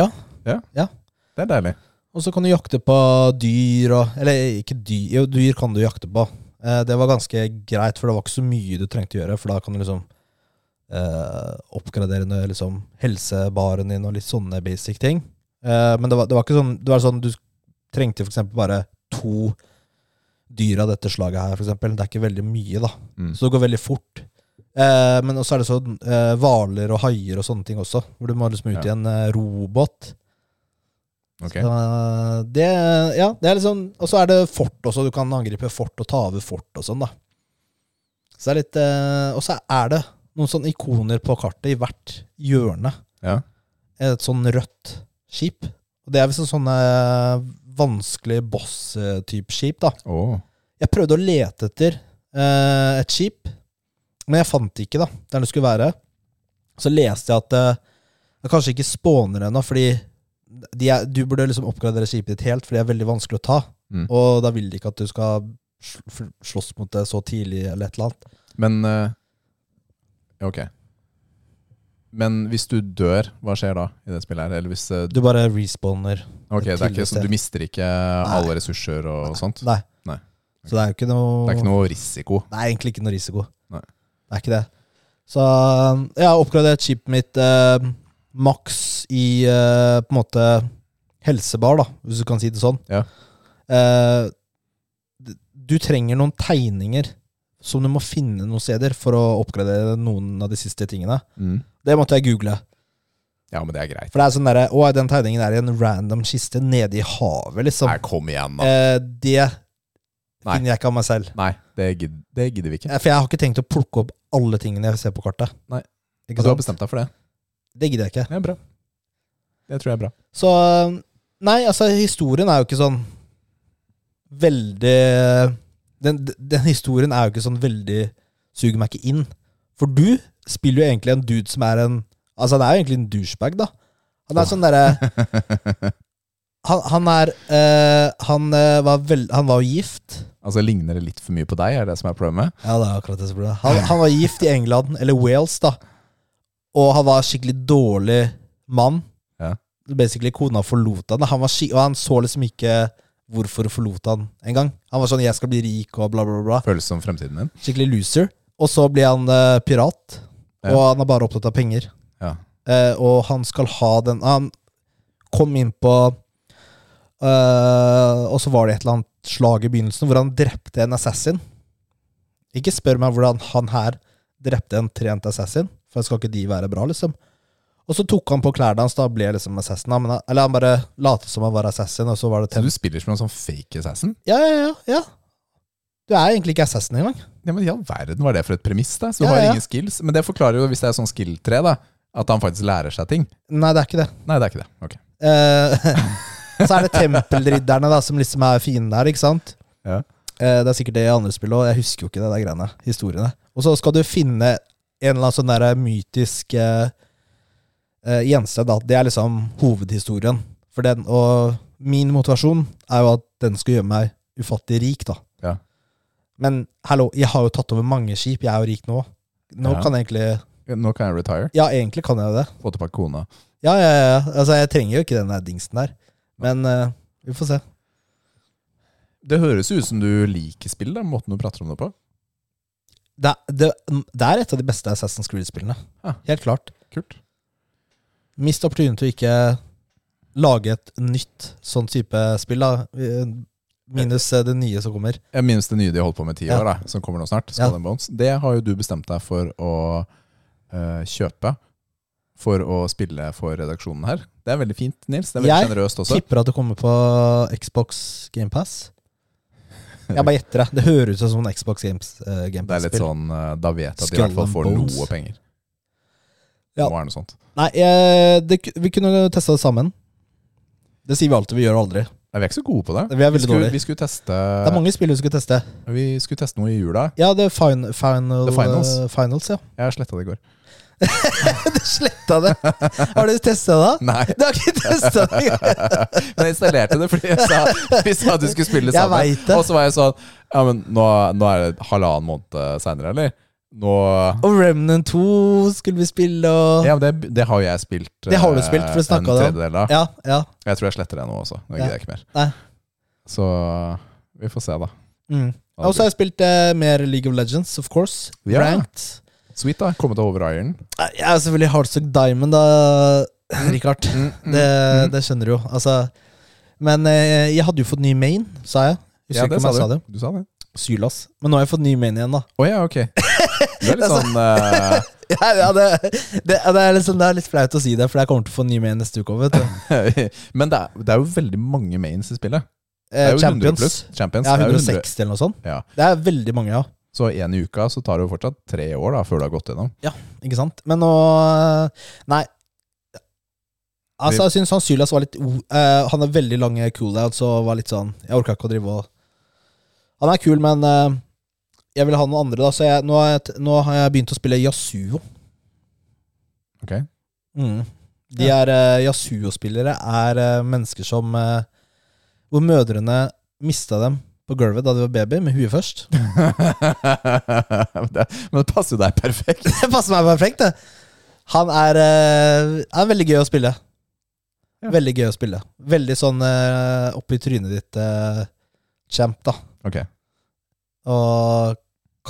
Speaker 1: Ja.
Speaker 2: Ja.
Speaker 1: Ja.
Speaker 2: Det er deilig.
Speaker 1: Og så kan du jakte på dyr og Eller ikke dyr, jo, dyr kan du jakte på. Eh, det var ganske greit, for det var ikke så mye du trengte å gjøre, for da kan du liksom eh, oppgradere noe, liksom, helsebaren din og litt sånne basic ting. Eh, men det var, det var ikke sånn, det var sånn du trengte f.eks. bare to dyr av dette slaget her, f.eks. Det er ikke veldig mye, da.
Speaker 2: Mm.
Speaker 1: Så det går veldig fort. Eh, men også er det sånn eh, hvaler og haier og sånne ting også, hvor du må liksom ut
Speaker 2: Ja.
Speaker 1: i en eh, robåt.
Speaker 2: Ok.
Speaker 1: Så, det, ja, det er liksom Og så er det fort også. Du kan angripe fort og ta over fort og sånn, da. Så det er litt eh, Og så er det noen sånne ikoner på kartet i hvert hjørne.
Speaker 2: Ja.
Speaker 1: Et sånn rødt skip. Og det er visst sånn, eh, sånne vanskelige boss-type eh, skip, da.
Speaker 2: Åh.
Speaker 1: Jeg prøvde å lete etter eh, et skip, men jeg fant det ikke da, der det skulle være. Så leste jeg at eh, det kanskje ikke spåner ennå, fordi de er, du burde liksom oppgradere skipet ditt helt, for de er veldig vanskelig å ta.
Speaker 2: Mm.
Speaker 1: Og da vil de ikke at du skal sl- fl- slåss mot det så tidlig, eller et eller annet.
Speaker 2: Men eh, ja, Ok. Men hvis du dør, hva skjer da i det spillet her? Eller hvis eh,
Speaker 1: Du bare respawner.
Speaker 2: Ok, det er ikke
Speaker 1: tilbestemmer.
Speaker 2: sånn, du mister ikke alle ressurser og sånt?
Speaker 1: Nei.
Speaker 2: Nei.
Speaker 1: Så det er jo ikke noe
Speaker 2: Det er ikke noe risiko.
Speaker 1: Det er egentlig ikke noe risiko.
Speaker 2: Nei.
Speaker 1: Det Det er ikke det. Så um, jeg har oppgradert skipet mitt eh, maks i eh, på en måte helsebar, da, hvis du kan si det sånn.
Speaker 2: Ja.
Speaker 1: Eh, d- du trenger noen tegninger som du må finne noen steder for å oppgradere noen av de siste tingene.
Speaker 2: Mm.
Speaker 1: Det måtte jeg google.
Speaker 2: Ja, men det er greit.
Speaker 1: For det er sånn derre Å, den tegningen er i en random kiste nede i havet, liksom.
Speaker 2: Nei, kom igjen, da.
Speaker 1: Eh, det
Speaker 2: Nei.
Speaker 1: finner jeg ikke av meg selv.
Speaker 2: Nei, det gidder, det gidder vi ikke.
Speaker 1: Eh, For jeg har ikke tenkt å plukke opp alle tingene jeg ser på kartet.
Speaker 2: Nei.
Speaker 1: Ikke
Speaker 2: Du har
Speaker 1: sant?
Speaker 2: bestemt deg for det.
Speaker 1: Det gidder jeg ikke.
Speaker 2: Det er bra. Det tror jeg er bra.
Speaker 1: Så Nei, altså, historien er jo ikke sånn veldig Den, den historien er jo ikke sånn veldig Suger meg ikke inn. For du spiller jo egentlig en dude som er en Altså, han er jo egentlig en douchebag, da. Han er sånn derre han, han er eh, han, eh, var vel, han var jo gift.
Speaker 2: Altså, Ligner det litt for mye på deg, er det som er problemet?
Speaker 1: Ja, det er akkurat det som blir det. Han, han var gift i England, eller Wales, da. Og han var skikkelig dårlig mann.
Speaker 2: Ja.
Speaker 1: Basically, kona forlot han. da. Han var skik og han så liksom ikke hvorfor hun forlot han engang. Han var sånn 'jeg skal bli rik' og bla, bla, bla.
Speaker 2: Føles som fremtiden din?
Speaker 1: Skikkelig loser. Og så blir han eh, pirat,
Speaker 2: Ja.
Speaker 1: og han er bare opptatt av penger.
Speaker 2: Ja.
Speaker 1: Eh, og han skal ha den Han kom inn på eh, Og så var det et eller annet slag i begynnelsen hvor han drepte en assassin. Ikke spør meg hvordan han her drepte en trent assassin, for skal ikke de være bra, liksom? Og så tok han på klærne hans, da ble jeg liksom assassin. da, Men han, eller han bare lot som han var assassin, og så var det
Speaker 2: Så
Speaker 1: tem
Speaker 2: du spiller som en sånn fake assassin?
Speaker 1: Ja, ja, ja. ja. Du er egentlig ikke assassin engang.
Speaker 2: Ja, men I all verden var det for et premiss, da? Så du
Speaker 1: Ja,
Speaker 2: har
Speaker 1: ja.
Speaker 2: ingen skills? Men det forklarer jo, hvis det er sånn skill 3, da, at han faktisk lærer seg ting.
Speaker 1: Nei, det er ikke det.
Speaker 2: Nei, det er ikke det. Ok.
Speaker 1: Eh, så er det tempelridderne da, som liksom er fienden her, ikke sant?
Speaker 2: Ja.
Speaker 1: Eh, det er sikkert det i andre spill òg, jeg husker jo ikke det der greiene, historiene. Og så skal du finne en eller annen sånn der mytisk eh, eh, gjenstand, da. Det er liksom hovedhistorien. For den, og min motivasjon er jo at den skal gjøre meg ufattelig rik, da.
Speaker 2: Ja.
Speaker 1: Men hallo, jeg har jo tatt over mange skip, jeg er jo rik nå. Nå
Speaker 2: Ja.
Speaker 1: kan jeg egentlig
Speaker 2: Nå kan jeg retire.
Speaker 1: Ja, egentlig kan jeg jo det.
Speaker 2: Få tilbake kona.
Speaker 1: Ja, ja, ja. Altså, jeg trenger jo ikke den der dingsen der. Men eh, vi får se.
Speaker 2: Det høres jo ut som du liker spill, da, måten du prater om det på.
Speaker 1: Det, er- det, det er et av de beste Assassin's Creed-spillene.
Speaker 2: Ja.
Speaker 1: Helt klart.
Speaker 2: Kult.
Speaker 1: Mist opportunity til å ikke lage et nytt sånn type spill, da. Eh, Minus eh, det nye som kommer.
Speaker 2: Jeg minnes det nye de holdt på med i ti
Speaker 1: Ja.
Speaker 2: år, da, som kommer nå snart. Skull
Speaker 1: Ja.
Speaker 2: and Bones. Det har jo du bestemt deg for å eh, kjøpe. For å spille for redaksjonen her. Det er veldig fint, Nils. Det er veldig
Speaker 1: Jeg
Speaker 2: sjenerøst også.
Speaker 1: Tipper at det kommer på Xbox GamePass. Jeg bare gjetter det. Det høres ut som en Xbox Games, eh,
Speaker 2: Det er litt
Speaker 1: GamePass-spill.
Speaker 2: sånn eh, Da vet jeg at de i
Speaker 1: Skull
Speaker 2: hvert fall
Speaker 1: and
Speaker 2: får
Speaker 1: Bones.
Speaker 2: noe penger.
Speaker 1: Ja.
Speaker 2: Nå er det noe sånt.
Speaker 1: Nei, eh, det, ku- vi kunne testa det sammen. Det sier vi alltid. Vi gjør det aldri.
Speaker 2: Nei, vi er ikke så gode på det.
Speaker 1: Vi er veldig
Speaker 2: skulle,
Speaker 1: dårlige.
Speaker 2: vi, skulle teste,
Speaker 1: Det er mange spill vi skulle teste.
Speaker 2: vi skulle teste noe i jula.
Speaker 1: Ja, det er fin, final,
Speaker 2: The finals.
Speaker 1: eh, finals, ja.
Speaker 2: Jeg sletta det i går.
Speaker 1: Du sletta det! Har du testa det?
Speaker 2: Nei,
Speaker 1: Du har ikke testa det!
Speaker 2: men jeg installerte det fordi jeg sa, vi sa at du skulle spille det
Speaker 1: Jeg
Speaker 2: sammen.
Speaker 1: vet det.
Speaker 2: Og så var jeg sånn Ja, men nå, nå er det halvannen måned seinere, eller? Nå
Speaker 1: Og Remnant 2 skulle vi spille, og
Speaker 2: Ja, men det, det har jo jeg spilt.
Speaker 1: Det har du
Speaker 2: eh,
Speaker 1: spilt, for du snakket det
Speaker 2: en
Speaker 1: om.
Speaker 2: tredjedel av.
Speaker 1: Ja, ja.
Speaker 2: Jeg tror jeg sletter det nå også. Nå gidder jeg ikke mer.
Speaker 1: Nei.
Speaker 2: Så vi får se, da.
Speaker 1: Mm. Og så har jeg spilt eh, mer League of Legends, of course.
Speaker 2: Ja.
Speaker 1: Ranked.
Speaker 2: Sweet, da. Kommet over iron.
Speaker 1: Nei, Jeg er selvfølgelig Hardstock Diamond, da, Richard. Det, det skjønner du jo. Altså Men eh, jeg hadde jo fått ny main, sa jeg. Husker ikke om jeg sa det.
Speaker 2: Du sa det.
Speaker 1: Sylas. Men nå har jeg fått ny main igjen, da.
Speaker 2: Å ja, ok. Du er litt sånn eh,
Speaker 1: Ja, ja, det, det, ja, det, er liksom, det er litt flaut å si det, for jeg kommer til å få ny main neste uke òg, vet du.
Speaker 2: Men det er, det er jo veldig mange mains i spillet. Det
Speaker 1: Eh,
Speaker 2: er jo 100 pluss.
Speaker 1: Champions.
Speaker 2: Champions.
Speaker 1: Ja,
Speaker 2: det er jo 100.
Speaker 1: 160 eller noe sånt.
Speaker 2: Ja.
Speaker 1: Det er veldig mange, ja.
Speaker 2: Så én i uka så tar det jo fortsatt tre år da, før du har gått gjennom.
Speaker 1: Ikke sant? Men nå eh, Nei. Altså, jeg syns han Sylas var litt o- eh, Han har veldig lange cooldowns og var litt sånn Jeg orka ikke å drive og Han er kul, men eh, jeg vil ha noen andre, da. Så jeg, nå, har jeg, t- nå har jeg begynt å spille Yasuo.
Speaker 2: Ok?
Speaker 1: Mm. De er eh, Yasuo-spillere er eh, mennesker som eh, Hvor mødrene mista dem på gulvet da de var baby, med huet først.
Speaker 2: Men det- Men det passer jo deg perfekt.
Speaker 1: Det passer meg perfekt, det. Han er, eh, er veldig gøy å spille.
Speaker 2: Ja.
Speaker 1: Veldig gøy å spille. Veldig sånn eh, oppi trynet ditt eh, champ, da.
Speaker 2: Ok,
Speaker 1: Og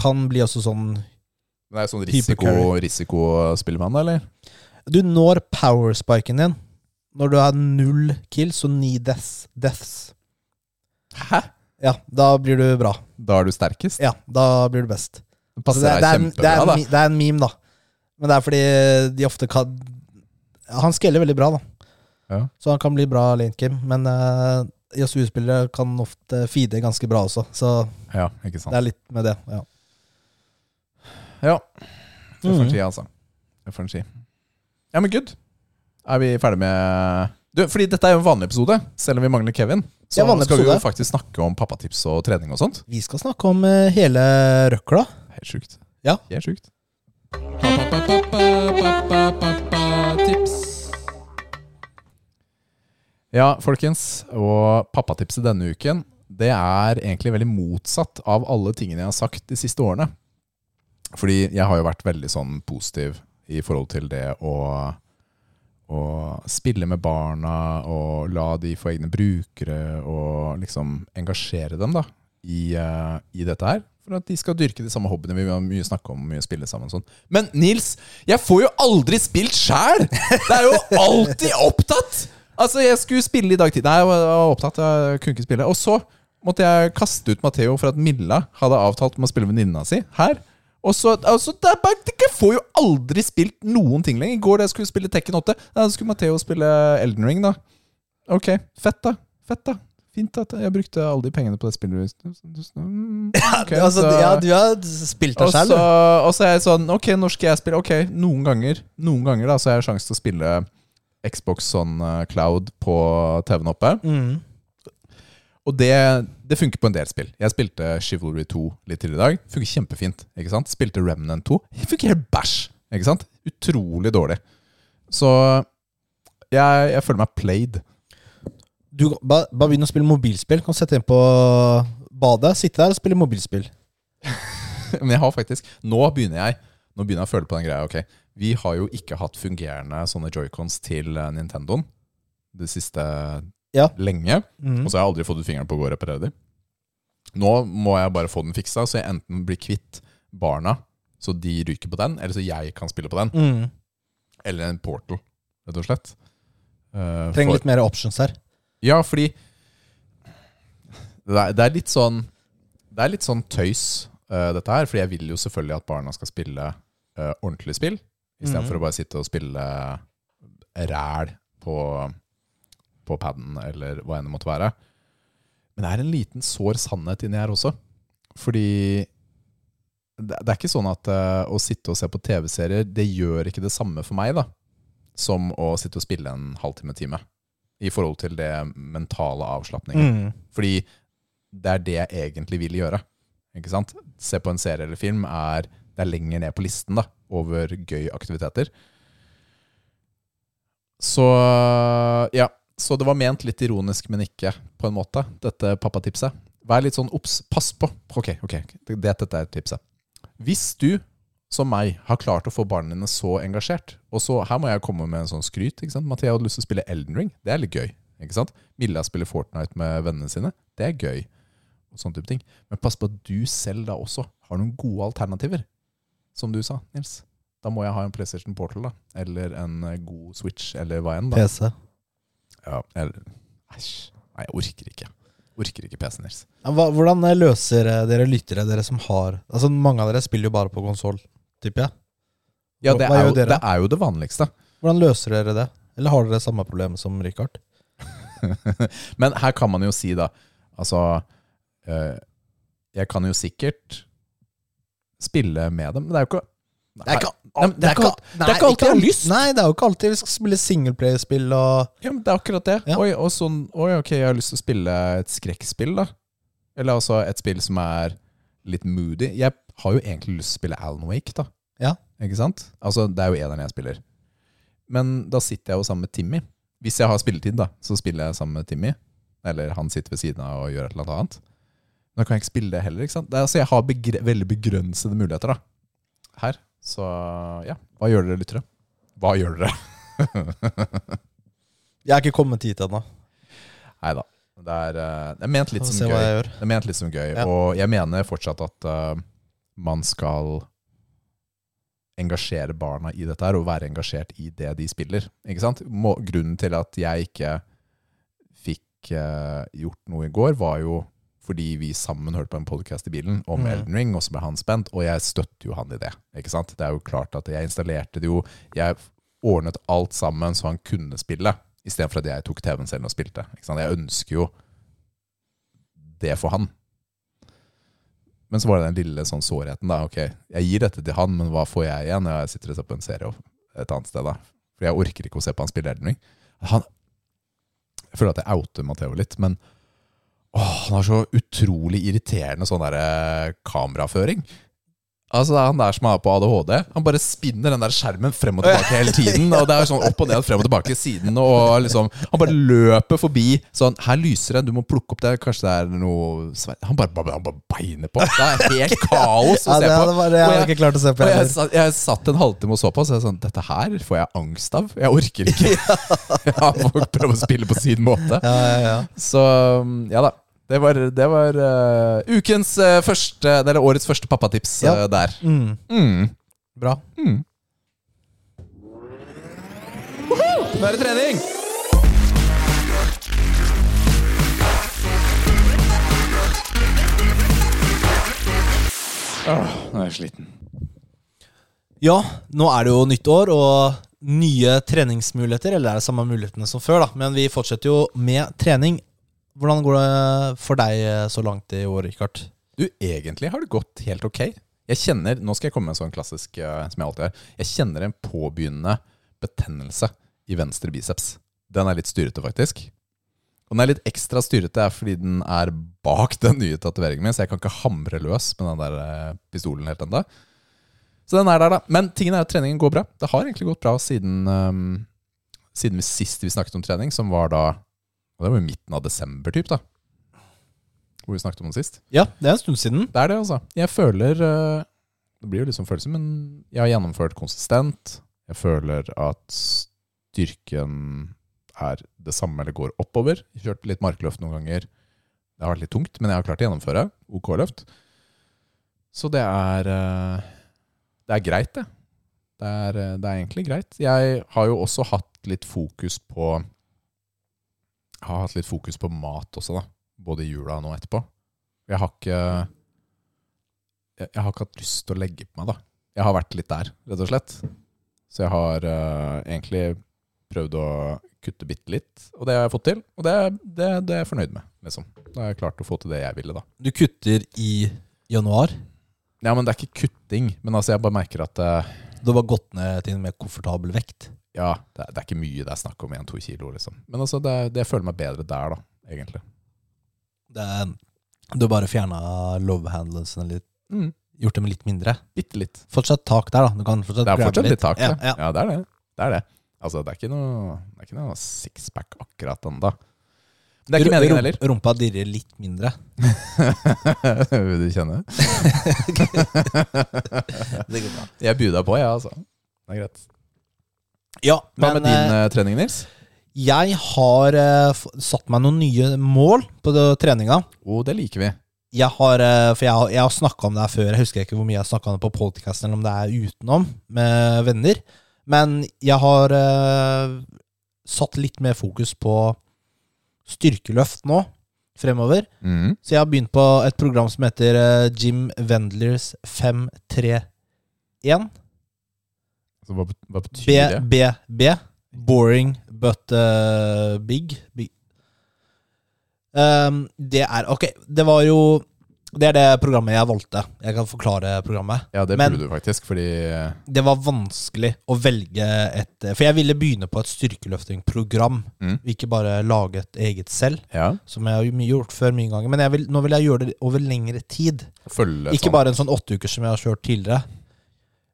Speaker 1: kan bli også sånn
Speaker 2: Men det er sånn risiko,
Speaker 4: Hypercarry.
Speaker 2: risikospill med han, da, eller?
Speaker 1: Du når powersparken din når du har null kills og ni deaths. deaths.
Speaker 2: Hæ?
Speaker 1: Ja, da blir du bra.
Speaker 2: Da er du sterkest?
Speaker 1: Ja, da blir du best.
Speaker 2: Det
Speaker 1: Altså,
Speaker 2: passer
Speaker 1: det, er- det, er,
Speaker 2: deg
Speaker 1: en- det, er, en
Speaker 2: kjempebra,
Speaker 1: mi- det er en meme, da. Men det er fordi de ofte kan Han skeller veldig bra, da.
Speaker 2: Ja.
Speaker 1: Så han kan bli bra lane game. Men uh, ISU-spillere kan ofte feede ganske bra også, så
Speaker 2: da. Ja, ikke sant.
Speaker 1: det er litt med det. Ja.
Speaker 2: Ja. Det får en
Speaker 1: Mhm.
Speaker 2: si, altså. Det får en si. Ja, men good. Er vi ferdige med du, Fordi dette er jo en vanlig episode, selv om vi mangler Kevin.
Speaker 1: Det
Speaker 2: Så
Speaker 1: er en vanlig
Speaker 2: skal vi jo
Speaker 1: episode.
Speaker 2: faktisk snakke om pappatips og trening og sånt.
Speaker 1: Vi skal snakke om eh, hele røkla.
Speaker 2: Helt sjukt.
Speaker 1: Ja.
Speaker 2: Helt sjukt. Ja, folkens. Og pappatipset denne uken, det er egentlig veldig motsatt av alle tingene jeg har sagt de siste årene. Fordi jeg har jo vært veldig sånn positiv i forhold til det å, å spille med barna og la de få egne brukere og liksom engasjere dem da, i, eh, i dette her. For at de skal dyrke de samme hobbyene vi har mye snakke om. mye spille sammen og sånn. Men Nils, jeg får jo aldri spilt sjæl! Det er jo alltid opptatt! Altså, jeg skulle spille i dag tidlig. Nei, jeg var opptatt, jeg kunne ikke spille. Og så måtte jeg kaste ut Matheo for at Milla hadde avtalt om å spille venninna si her. Og så, altså, det er bare, Jeg får jo aldri spilt noen ting lenger. I går da jeg skulle spille Tekken 8, da skulle Matheo spille Elden Ring, da. Ok, fett, da. Fett, da. Fint at jeg brukte alle de pengene på det spillet. Mm, ok,
Speaker 1: altså,
Speaker 2: så-
Speaker 1: ja, du har spilt deg
Speaker 2: og
Speaker 1: selv
Speaker 2: så,
Speaker 1: du.
Speaker 2: og så er jeg sånn Ok, når skal jeg spille? Ok, noen ganger Noen ganger da, så har jeg sjanse til å spille Xbox sånn eh, Cloud på TV-en oppe.
Speaker 1: Mm.
Speaker 2: Og det, det funker på en del spill. Jeg spilte Chivalry 2 litt tidligere i dag. Funker kjempefint. ikke sant? Spilte Remnant 2. Det Funker helt bæsj! ikke sant? Utrolig dårlig. Så jeg, jeg føler meg played.
Speaker 1: Du, bare, bare begynn å spille mobilspill. Kan sette inn på badet, sitte der og spille mobilspill.
Speaker 2: Men jeg har faktisk Nå begynner jeg Nå begynner jeg å føle på den greia. Ok, Vi har jo ikke hatt fungerende sånne joycons til eh, Nintendoen det siste
Speaker 1: Ja.
Speaker 2: lenge.
Speaker 1: Mm.
Speaker 2: Og så har jeg aldri fått ut fingeren på å gå og reparere dem. Nå må jeg bare få den fiksa, så jeg enten blir kvitt barna, så de ryker på den, eller så jeg kan spille på den.
Speaker 1: Mm.
Speaker 2: Eller en portal, rett og slett. Eh,
Speaker 1: Trenger
Speaker 2: for-
Speaker 1: litt mer options her.
Speaker 2: ja, fordi det er, det er litt sånn Det er litt sånn tøys, eh, dette her. Fordi jeg vil jo selvfølgelig at barna skal spille eh, ordentlig spill, istedenfor for å bare sitte og spille ræl på, på paden eller hva enn det måtte være. Men det er en liten sår sannhet inni her også. Fordi det, det er ikke sånn at eh, å sitte og se på TV-serier, det gjør ikke det samme for meg da, som å sitte og spille en halvtime-time. I forhold til det mentale avslapningen.
Speaker 1: Mm.
Speaker 2: Fordi det er det jeg egentlig vil gjøre. Ikke sant? Se på en serie eller film er det er lenger ned på listen da, over gøy aktiviteter. Så ja, så det var ment litt ironisk, men ikke på en måte, dette pappatipset. Vær litt sånn obs, pass på. Ok, ok, det, dette er tipset. Hvis du, som meg, har klart å få barna dine så engasjert, og så her må jeg komme med en sånn skryt, ikke sant? Mathea hadde lyst til å spille Elden Ring, det er litt gøy, ikke sant? Milla spiller Fortnite med vennene sine, det er gøy, og sånn type ting. Men pass på at du selv da også har noen gode alternativer, som du sa, Nils. Da må jeg ha en PlayStation Portal, da. Eller en eh, god Switch, eller hva enn, da.
Speaker 1: PC.
Speaker 2: Ja, eller Æsj. Nei, jeg orker ikke. Orker ikke PC-en deres.
Speaker 1: Ja, Hva, hvordan eh, løser eh, dere lyttere, dere som har Altså Mange av dere spiller jo bare på konsoll, tipper jeg.
Speaker 2: Ja, det
Speaker 1: Hva
Speaker 2: er,
Speaker 1: gjør
Speaker 2: jo,
Speaker 1: dere?
Speaker 2: det er jo det vanligste.
Speaker 1: Hvordan løser dere det? Eller har dere samme problem som Richard?
Speaker 2: Men her kan man jo si, da Altså eh, Jeg kan jo sikkert spille med dem, men det er jo ikke Nei, Nei, men det er ikke alt- det er ikke alltid jeg har lyst.
Speaker 1: Nei, det er jo ikke alltid vi skal spille singleplayerspill og
Speaker 2: Ja, men det er akkurat det.
Speaker 1: Ja.
Speaker 2: Oi, og sånn, oi, ok, jeg har lyst til å spille et skrekkspill, da. Eller altså et spill som er litt moody. Jeg har jo egentlig lyst til å spille Alan Wake, da.
Speaker 1: Ja.
Speaker 2: Ikke sant? Altså, det er jo eneren jeg spiller. Men da sitter jeg jo sammen med Timmy. Hvis jeg har spilletid, da, så spiller jeg sammen med Timmy. Eller han sitter ved siden av og gjør et eller annet annet. Men da kan jeg ikke spille det heller, ikke sant? Det er, altså, jeg har begre veldig begrensede muligheter, da. Her. Så ja, hva gjør dere, lyttere? Hva gjør dere?
Speaker 1: Jeg er ikke kommet hit ennå.
Speaker 2: Nei da. Det er, eh, det er ment litt
Speaker 1: Får
Speaker 2: som
Speaker 1: se hva
Speaker 2: gøy.
Speaker 1: jeg gjør.
Speaker 2: Det er ment litt som gøy,
Speaker 1: Ja.
Speaker 2: og jeg mener fortsatt at eh, man skal engasjere barna i dette her, og være engasjert i det de spiller. Ikke sant? Må, grunnen til at jeg ikke fikk eh, gjort noe i går, var jo fordi vi sammen hørte på en podkast i bilen om
Speaker 4: Mm.
Speaker 2: Elden Ring, og så ble han spent, og jeg støtter jo han i det. Ikke sant? Det er jo klart at jeg installerte det jo, jeg ordnet alt sammen så han kunne spille, istedenfor at jeg tok TV-en selv og spilte. Ikke sant? Jeg ønsker jo det for han. Men så var det den lille sånn sårheten. da, ok, Jeg gir dette til han, men hva får jeg igjen når jeg sitter og ser på en serie et annet sted? da? For jeg orker ikke å se på han spille Elden Ring. Han, jeg føler at jeg outer Matheo litt, men åh, han har så utrolig irriterende sånn der, eh, kameraføring. Altså, det er Han der som er på ADHD, han bare spinner den der skjermen frem og tilbake hele tiden. Og det er jo sånn opp og ned, frem og tilbake siden. Og liksom, Han bare løper forbi sånn Her lyser det, du må plukke opp det. Kanskje det er noe sve- Han bare, bare, han bare beiner på. Det er helt kaos å
Speaker 1: Ja, det,
Speaker 2: se på.
Speaker 1: det var det jeg
Speaker 2: Og
Speaker 1: hadde
Speaker 2: jeg-
Speaker 1: ikke klart å se på.
Speaker 2: og jeg,
Speaker 1: heller.
Speaker 2: satt- jeg satt en halvtime og så på, så jeg sånn Dette her får jeg angst av. Jeg orker ikke. Jeg må prøve å spille på sin måte.
Speaker 1: Ja, ja, ja.
Speaker 2: Så um, ja da. Det var, det var eh, ukens eh, første Eller årets første pappatips eh,
Speaker 1: Ja.
Speaker 2: der.
Speaker 1: Mm.
Speaker 2: Mm.
Speaker 1: Bra.
Speaker 2: Nå er det trening! Ah,
Speaker 3: Nå er jeg sliten.
Speaker 1: Ja, nå er det jo nytt år og nye treningsmuligheter. Eller er det samme mulighetene som før, da? Men vi fortsetter jo med trening. Hvordan går det for deg eh, så langt i år, Rikard?
Speaker 2: Du, egentlig har det gått helt ok. Jeg kjenner, Nå skal jeg komme med en sånn klassisk eh, som jeg alltid gjør. Jeg kjenner en påbegynnende betennelse i venstre biceps. Den er litt styrete, faktisk. Og den er litt ekstra styrete er fordi den er bak den nye tatoveringen min, så jeg kan ikke hamre løs med den der eh, pistolen helt ennå. Så den er der, da. Men tingen er at treningen går bra. Det har egentlig gått bra siden, ehm, siden vi sist vi snakket om trening, som var da og Det var jo midten av desember, typ, da. Hvor vi snakket om det sist.
Speaker 1: Ja, det er en stund siden.
Speaker 2: Det er det, altså. Jeg føler eh, Det blir jo liksom følelser, men jeg har gjennomført konsistent. Jeg føler at styrken er det samme eller går oppover. Jeg kjørte litt markløft noen ganger. Det har vært litt tungt, men jeg har klart å gjennomføre. OK løft. Så det er eh, Det er greit, det. Det er, eh, det er egentlig greit. Jeg har jo også hatt litt fokus på Jeg har hatt litt fokus på mat også, da. Både i jula og nå etterpå. Jeg har ikke jeg, jeg har ikke hatt lyst til å legge på meg, da. Jeg har vært litt der, rett og slett. Så jeg har eh, egentlig prøvd å kutte bitte litt, og det har jeg fått til. Og det, det, det er jeg fornøyd med, liksom. Da har jeg klart å få til det jeg ville, da.
Speaker 1: Du kutter i januar.
Speaker 2: Ja, men det er ikke kutting. Men altså, jeg bare merker at eh,
Speaker 1: Du har bare gått ned til en mer komfortabel vekt.
Speaker 2: Ja, det er, det er ikke mye det er snakk om, én-to kilo, liksom. Men altså, det, er- det, jeg føler meg bedre der, da, egentlig.
Speaker 1: Det er, du har bare fjerna love handlesene litt.
Speaker 2: Mm.
Speaker 1: Gjort dem litt mindre.
Speaker 2: Bitte litt.
Speaker 1: Fortsatt tak der, da. Du kan fortsatt
Speaker 2: Det er
Speaker 1: grabbe
Speaker 2: fortsatt litt tak,
Speaker 1: Ja,
Speaker 2: det. Ja, det er det. Det er det. Altså, det er ikke noe, det er ikke noe sixpack akkurat ennå. Det er ikke meningen heller.
Speaker 1: Ru- Rumpa dirrer litt mindre.
Speaker 2: Vil du kjenne?
Speaker 1: Det går bra.
Speaker 2: Jeg byr deg på, jeg, altså. Det er greit.
Speaker 1: Ja,
Speaker 2: Hva
Speaker 1: men
Speaker 2: med din
Speaker 1: eh,
Speaker 2: eh, trening, Nils?
Speaker 1: jeg har eh, f- satt meg noen nye mål på det, treninga.
Speaker 2: Å, det liker vi.
Speaker 1: Jeg har, eh, for jeg har, jeg har snakka om det her før, jeg husker ikke hvor mye jeg snakka om det på podkasten, eller om det er utenom, med venner. Men jeg har eh, satt litt mer fokus på styrkeløft nå, fremover.
Speaker 2: Mhm.
Speaker 1: Så jeg har begynt på et program som heter eh, Jim Wendlers 531.
Speaker 2: Så hva, bet- hva betyr
Speaker 1: B,
Speaker 2: det?
Speaker 1: B, B. Boring but eh, big. big. Ehm, det er Ok, det var jo Det er det programmet jeg valgte. Jeg kan forklare programmet.
Speaker 2: Ja, det
Speaker 1: Men-
Speaker 2: burde du faktisk, fordi eh,
Speaker 1: Det var vanskelig å velge et For jeg ville begynne på et styrkeløftingprogram.
Speaker 2: Mm.
Speaker 1: Ikke bare lage et eget selv,
Speaker 2: Ja,
Speaker 1: som jeg har jo mye gjort før mange ganger. Men jeg vil, nå vil jeg gjøre det over lengre tid.
Speaker 2: følge
Speaker 1: Ikke bare en sånn åtte uker som jeg har kjørt tidligere.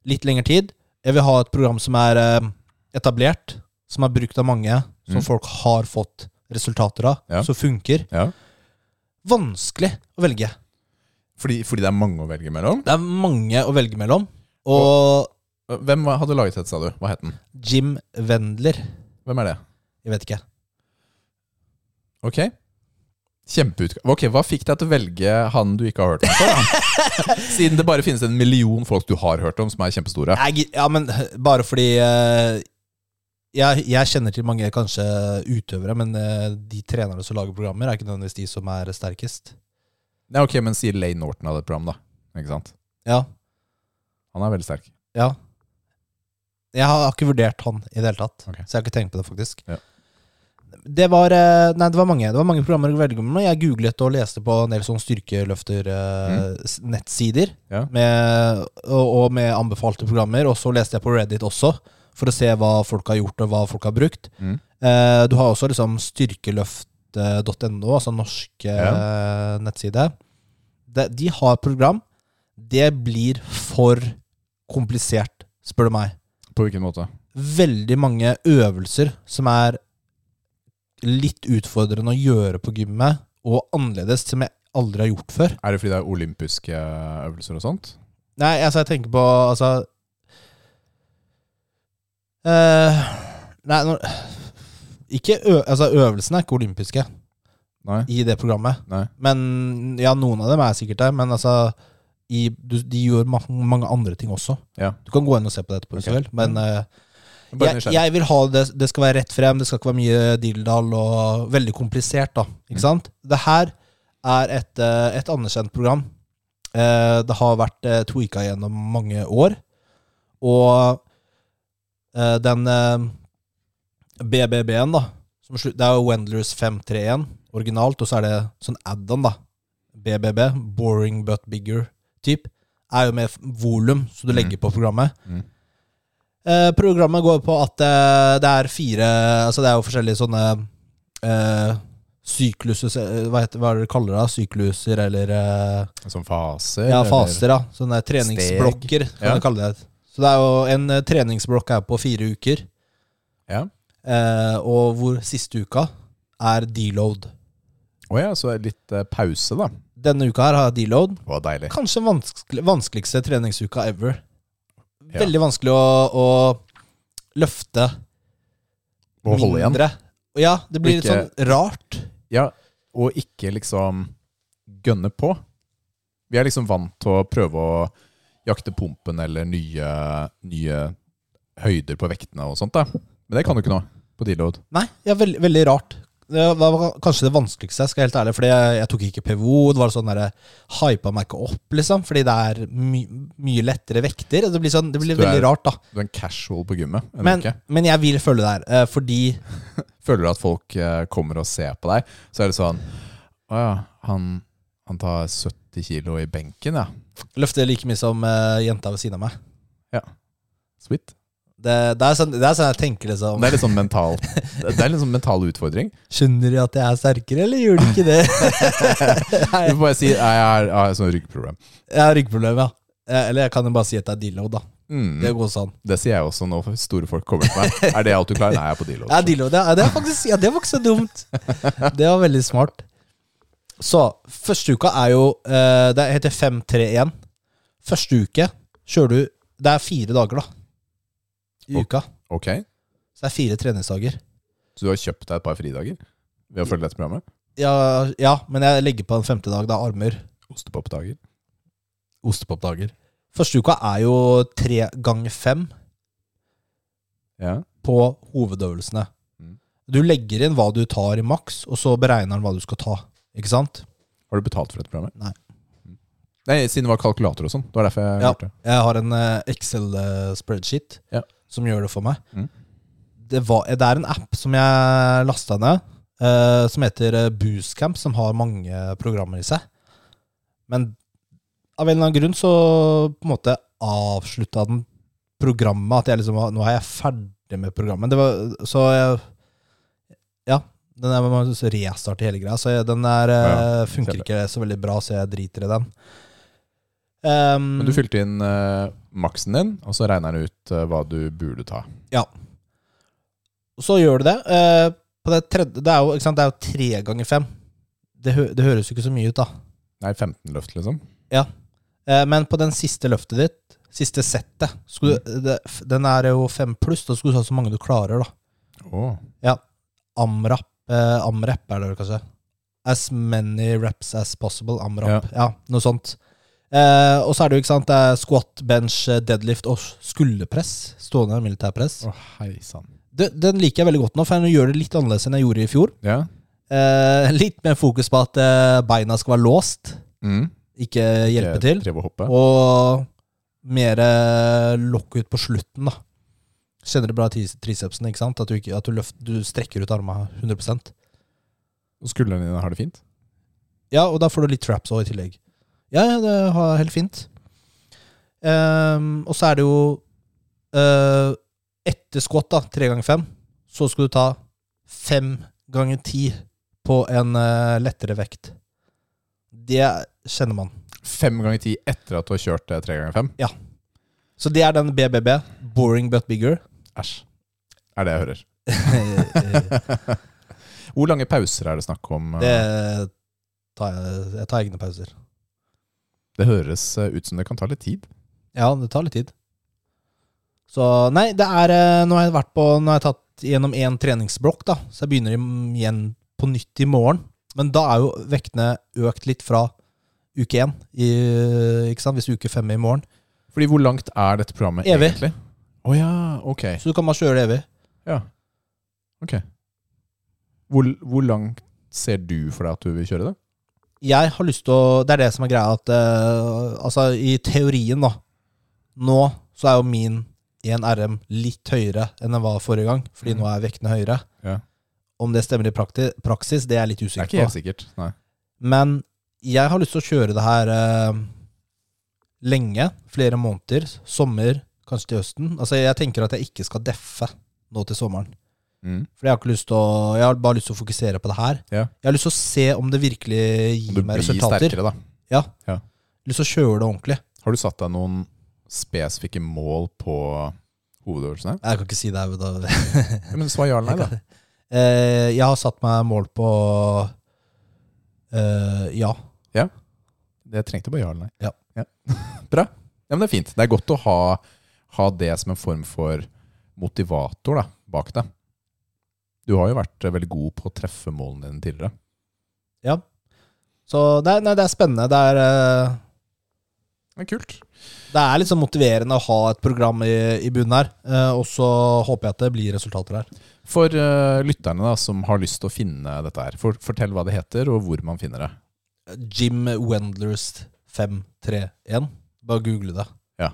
Speaker 1: Litt lengre tid. Jeg vil ha et program som er eh, etablert, som er brukt av mange, som
Speaker 2: Mm.
Speaker 1: folk har fått resultater av,
Speaker 2: Ja.
Speaker 1: som funker.
Speaker 2: Ja.
Speaker 1: Vanskelig å velge.
Speaker 2: Fordi, fordi det er mange å velge mellom.
Speaker 1: Det er mange å velge mellom. Og
Speaker 2: Hvem var- hadde laget dette, sa du? Hva het den?
Speaker 1: Jim Wendler
Speaker 2: Hvem er det?
Speaker 1: Jeg vet ikke.
Speaker 2: Ok. Kjempeutgave. Ok, Hva fikk deg til å velge han du ikke har hørt om før? da? Siden det bare finnes en million folk du har hørt om, som er kjempestore.
Speaker 1: Jeg, ja, men bare fordi eh, jeg, jeg kjenner til mange kanskje utøvere, men eh, de trenerne som lager programmer, er ikke nødvendigvis de som er sterkest.
Speaker 2: Nei, ok, Men sier Lay Norton av det programmet, da. Ikke sant?
Speaker 1: Ja,
Speaker 2: Han er veldig sterk.
Speaker 1: ja. Jeg har ikke vurdert han i det hele tatt,
Speaker 2: Ok.
Speaker 1: så jeg har ikke tenkt på det, faktisk.
Speaker 2: Ja.
Speaker 1: Det var, eh, nei, det var mange Det var mange programmer å velge mellom. Jeg googlet og leste på en del sånn styrkeløfter-nettsider.
Speaker 2: Mm. Ja.
Speaker 1: med, og, og med anbefalte programmer. Og så leste jeg på Reddit også, for å se hva folk har gjort og hva folk har brukt.
Speaker 2: Mm.
Speaker 1: Eh, du har også liksom styrkeløft.no, altså norsk eh, nettside. De, de har program. Det blir for komplisert, spør du meg.
Speaker 2: På hvilken måte?
Speaker 1: Veldig mange øvelser som er litt utfordrende å gjøre på gymmet, og annerledes, som jeg aldri har gjort før.
Speaker 2: Er det fordi det er olympiske eh, øvelser og sånt?
Speaker 1: Nei, altså jeg tenker på Altså eh, Nei, nå ikke ø altså, Øvelsene er ikke olympiske
Speaker 2: Nei?
Speaker 1: i det programmet.
Speaker 2: Nei.
Speaker 1: Men ja, noen av dem er sikkert det. Men altså i, du, De gjør ma mange andre ting også.
Speaker 2: Ja.
Speaker 1: Du kan gå inn og se på det etterpå. hvis du
Speaker 2: Ok.
Speaker 1: vil, Men eh,
Speaker 2: Bare
Speaker 1: jeg,
Speaker 2: nysgjerrig.
Speaker 1: jeg vil ha det Det skal være rett frem, det skal ikke være mye dilldall og veldig komplisert, da.
Speaker 2: Mm.
Speaker 1: Ikke sant? Det her er et, eh, et anerkjent program. Eh, Det har vært eh, tweaka gjennom mange år. Og eh, den eh, BBB-en, da som slu- Det er jo Wendlers 531 originalt, og så er det sånn add-on, da. BBB, Boring But Bigger-type, er jo med f- volum, så du legger på programmet.
Speaker 2: Mm.
Speaker 1: Eh, programmet går på at eh, det er fire Altså, det er jo forskjellige sånne eh, sykluser eh, hva, heter, hva er det du kaller det? da? Sykluser, eller eh,
Speaker 2: Sånn faser?
Speaker 1: Ja,
Speaker 2: eller-
Speaker 1: faser, da. Sånne treningsblokker, kan
Speaker 2: Ja.
Speaker 1: du kalle det. Så det er jo en eh, treningsblokk er på fire uker,
Speaker 2: Ja.
Speaker 1: eh, og hvor siste uka er deload.
Speaker 2: Å ja, så litt eh, pause, da.
Speaker 1: Denne uka her har jeg deload.
Speaker 2: Det var deilig.
Speaker 1: Kanskje vanskelig, vanskeligste treningsuka ever.
Speaker 2: Ja.
Speaker 1: Veldig vanskelig å, å løfte
Speaker 2: Å holde igjen.
Speaker 1: mindre. Ja, det blir litt
Speaker 2: Ikke-
Speaker 1: sånn rart.
Speaker 2: Ja, og ikke liksom gønne på. Vi er liksom vant til å prøve å jakte pumpen eller nye, nye høyder på vektene og sånt. da. Men det kan du ikke nå på deload.
Speaker 1: Nei, ja, veld, veldig rart. Det var kanskje det vanskeligste, skal jeg være helt ærlig, fordi jeg, jeg tok ikke PVO. Det var sånn derre Hypa meg ikke opp, liksom, fordi det er my, mye lettere vekter. Det blir, sånn, det blir
Speaker 2: Så du er-
Speaker 1: veldig rart, da.
Speaker 2: Du er en casual på gymmet. en
Speaker 1: Men,
Speaker 2: uke.
Speaker 1: men jeg vil følge det her, eh, fordi
Speaker 2: Føler du at folk eh, kommer og ser på deg, så er det sånn Å ja, han, han tar 70 kilo i benken, ja.
Speaker 1: løfter like mye som eh, jenta ved siden av meg.
Speaker 2: Sweet.
Speaker 1: Det, det, er sånn, det er sånn jeg tenker, liksom.
Speaker 2: Det er litt sånn mental, det er litt sånn mental utfordring.
Speaker 1: Skjønner de at jeg er sterkere, eller gjør de ikke det? Nei,
Speaker 2: Du får bare si «Nei, jeg har, jeg har sånn ryggproblem.
Speaker 1: jeg har ryggproblemer, ja. Eh, Eller jeg kan jo bare si at det er deload, da.
Speaker 2: Mm.
Speaker 1: Det går sånn.
Speaker 2: Det sier jeg også når store folk kommer til meg. Er det alt du klarer? Nei, jeg er på deload.
Speaker 1: Ja, deload, ja, det er faktisk ja, det var ikke så dumt. Det var veldig smart. Så første uka er jo eh, Det heter 5-3-1. Første uke kjører du Det er fire dager, da. I
Speaker 2: Ok.
Speaker 1: uka.
Speaker 2: Ok,
Speaker 1: Så det er fire treningsdager.
Speaker 2: så du har kjøpt deg et par fridager ved å følge dette programmet?
Speaker 1: Ja, ja, men jeg legger på en femte dag. Det er armer.
Speaker 2: Ostepopdager.
Speaker 1: Ostepopdager. Første uka er jo tre ganger fem.
Speaker 2: Ja.
Speaker 1: på hovedøvelsene.
Speaker 2: Mm.
Speaker 1: Du legger inn hva du tar i maks, og så beregner han hva du skal ta. Ikke sant?
Speaker 2: Har du betalt for dette programmet?
Speaker 1: Nei.
Speaker 2: Nei, siden det var kalkulator og sånn. Det var derfor jeg
Speaker 1: Ja.
Speaker 2: hørte.
Speaker 1: Jeg har en eh, Excel-spreadsheet
Speaker 2: Ja.
Speaker 1: som gjør det for meg.
Speaker 2: Mm.
Speaker 1: Det, var, det er en app som jeg lasta ned, eh, som heter eh, Boostcamp, som har mange programmer i seg. Men av en eller annen grunn så på en måte avslutta den programmet. At jeg liksom var- Nå er jeg ferdig med programmet. Det var, så jeg Ja. Den er, man må restarte hele greia, så jeg, den er, eh,
Speaker 2: Ja,
Speaker 1: funker
Speaker 2: ser det.
Speaker 1: ikke så veldig bra, så jeg driter i den. Um,
Speaker 2: Men du fylte inn eh, maksen din, og så regner den ut eh, hva du burde ta.
Speaker 1: Så gjør du det. eh, på det, tredje, det, er jo, ikke sant, det er jo tre ganger fem. Det, hø det høres jo ikke så mye ut, da.
Speaker 2: Nei, 15 løft, liksom.
Speaker 1: Eh, men på den siste løftet ditt, siste settet, skulle, du- det, f- den er jo fem pluss. Da skulle du ha så mange du klarer, da.
Speaker 2: Åh.
Speaker 1: Amrap, eh, amrep er det vel kanskje. As many reps as possible, amrap.
Speaker 2: Ja.
Speaker 1: Ja, noe sånt. Eh, og så er det jo, ikke sant, det er squat, bench, eh, deadlift og skulderpress. Stående militærpress.
Speaker 2: Å, hei sann.
Speaker 1: Den, den liker jeg veldig godt nå, for jeg gjør det litt annerledes enn jeg gjorde i fjor.
Speaker 2: Ja.
Speaker 1: Eh, litt mer fokus på at eh, beina skal være låst,
Speaker 2: Mm.
Speaker 1: ikke hjelpe
Speaker 2: Jeg
Speaker 1: til.
Speaker 2: drev og hoppe.
Speaker 1: Og mer eh, lokk ut på slutten, da. Kjenner du bra tis- tricepsen, ikke sant? At du, ikke, at du, løft, du strekker ut armene 100
Speaker 2: Og skuldrene dine har det fint?
Speaker 1: Ja, og da får du litt traps òg i tillegg. Ja, ja, det er helt fint. Ehm, og så er det jo eh, Etter squat, da, tre ganger fem, så skal du ta fem ganger ti på en eh, lettere vekt. Det kjenner man.
Speaker 2: Fem ganger ti etter at du har kjørt eh, tre ganger fem?
Speaker 1: Så det er den BBB. Boring but bigger.
Speaker 2: Æsj. Er det jeg hører.
Speaker 1: det
Speaker 2: Hvor lange pauser er det snakk om? eh?
Speaker 1: tar jeg, jeg tar egne pauser.
Speaker 2: Det høres eh, ut som det kan ta litt tid.
Speaker 1: Ja, det tar litt tid. Så nei, det er eh, Nå har jeg vært på Nå har jeg tatt gjennom én treningsblokk, da, så jeg begynner im- igjen på nytt i morgen. Men da er jo vektene økt litt fra uke én, i, ikke sant? hvis uke fem er i morgen.
Speaker 2: Fordi hvor langt er dette programmet
Speaker 1: Evig.
Speaker 2: egentlig? Å ja, ok.
Speaker 1: Så du kan bare kjøre det evig.
Speaker 2: Ja. Ok. Hvor, hvor langt ser du for deg at du vil kjøre det?
Speaker 1: Jeg har lyst til å Det er det som er greia, at eh, altså i teorien, da Nå så er jo min 1RM litt høyere enn den var forrige gang, fordi nå er vektene høyere.
Speaker 2: Mm. Ja.
Speaker 1: Om det stemmer i prakti praksis, det er jeg litt
Speaker 2: Det er
Speaker 1: usikker
Speaker 2: ikke
Speaker 1: på.
Speaker 2: helt sikkert. Nei.
Speaker 1: Men jeg har lyst til å kjøre det her eh, lenge, flere måneder, sommer, kanskje til høsten. Altså Jeg tenker at jeg ikke skal deffe nå til sommeren.
Speaker 2: Mm.
Speaker 1: For jeg har ikke lyst til å Jeg har bare lyst til å fokusere på det her.
Speaker 2: Ja.
Speaker 1: Jeg har lyst til å se om det virkelig
Speaker 2: Du
Speaker 1: gir meg
Speaker 2: blir
Speaker 1: resultater.
Speaker 2: sterkere, da.
Speaker 1: Ja.
Speaker 2: Ja.
Speaker 1: Lyst til å kjøre det ordentlig.
Speaker 2: Har du satt deg noen spesifikke mål på hovedøvelsen her?
Speaker 1: Jeg kan ikke si det. her, Da.
Speaker 2: Ja, men svar ja eller nei, da.
Speaker 1: Eh, jeg har satt meg mål på eh, Ja.
Speaker 2: Jeg trengte bare ja eller nei.
Speaker 1: Ja.
Speaker 2: Bra. Ja, men det er fint. Det er godt å ha, ha det som en form for motivator da, bak deg. Du har jo vært eh, veldig god på å treffe målene dine tidligere.
Speaker 1: Så det er, nei, det er spennende. Det er eh,
Speaker 2: Det er kult.
Speaker 1: Det er liksom motiverende å ha et program i, i bunnen her. Eh, og så håper jeg at det blir resultater her.
Speaker 2: For eh, lytterne da, som har lyst til å finne dette her, for, fortell hva det heter og hvor man finner det.
Speaker 1: Jim Wendlers 531. Bare google det.
Speaker 2: Ja.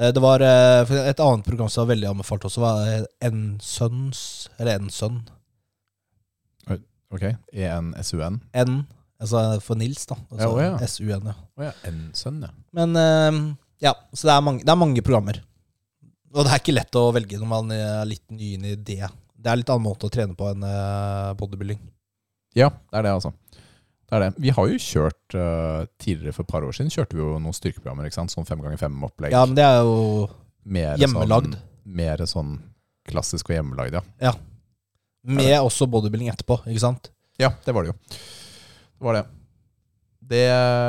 Speaker 1: Eh, det var eh, for et annet program som var veldig anbefalt også, var N-Sønns Eller N-Sønn.
Speaker 2: Ok, E ENSUN.
Speaker 1: N, altså for Nils, da. Altså,
Speaker 2: Ja, å ja.
Speaker 1: S-U-N, ja.
Speaker 2: Å ja, N-sønn, ja.
Speaker 1: Men eh, ja, så det er, mange, det er mange programmer. Og det er ikke lett å velge når man er litt ny inn i det. Det er litt annen måte å trene på enn eh, bodybuilding.
Speaker 2: Ja, det er det, altså. Det er det. Vi har jo kjørt eh, tidligere, for et par år siden, kjørte vi jo noen styrkeprogrammer. ikke sant? Sånn fem ganger fem-opplegg.
Speaker 1: Ja, men det er jo hjemmelagd.
Speaker 2: Sånn, mer sånn klassisk og hjemmelagd, ja.
Speaker 1: Med også bodybuilding etterpå, ikke sant?
Speaker 2: Ja, det var det jo. Det var det. Det,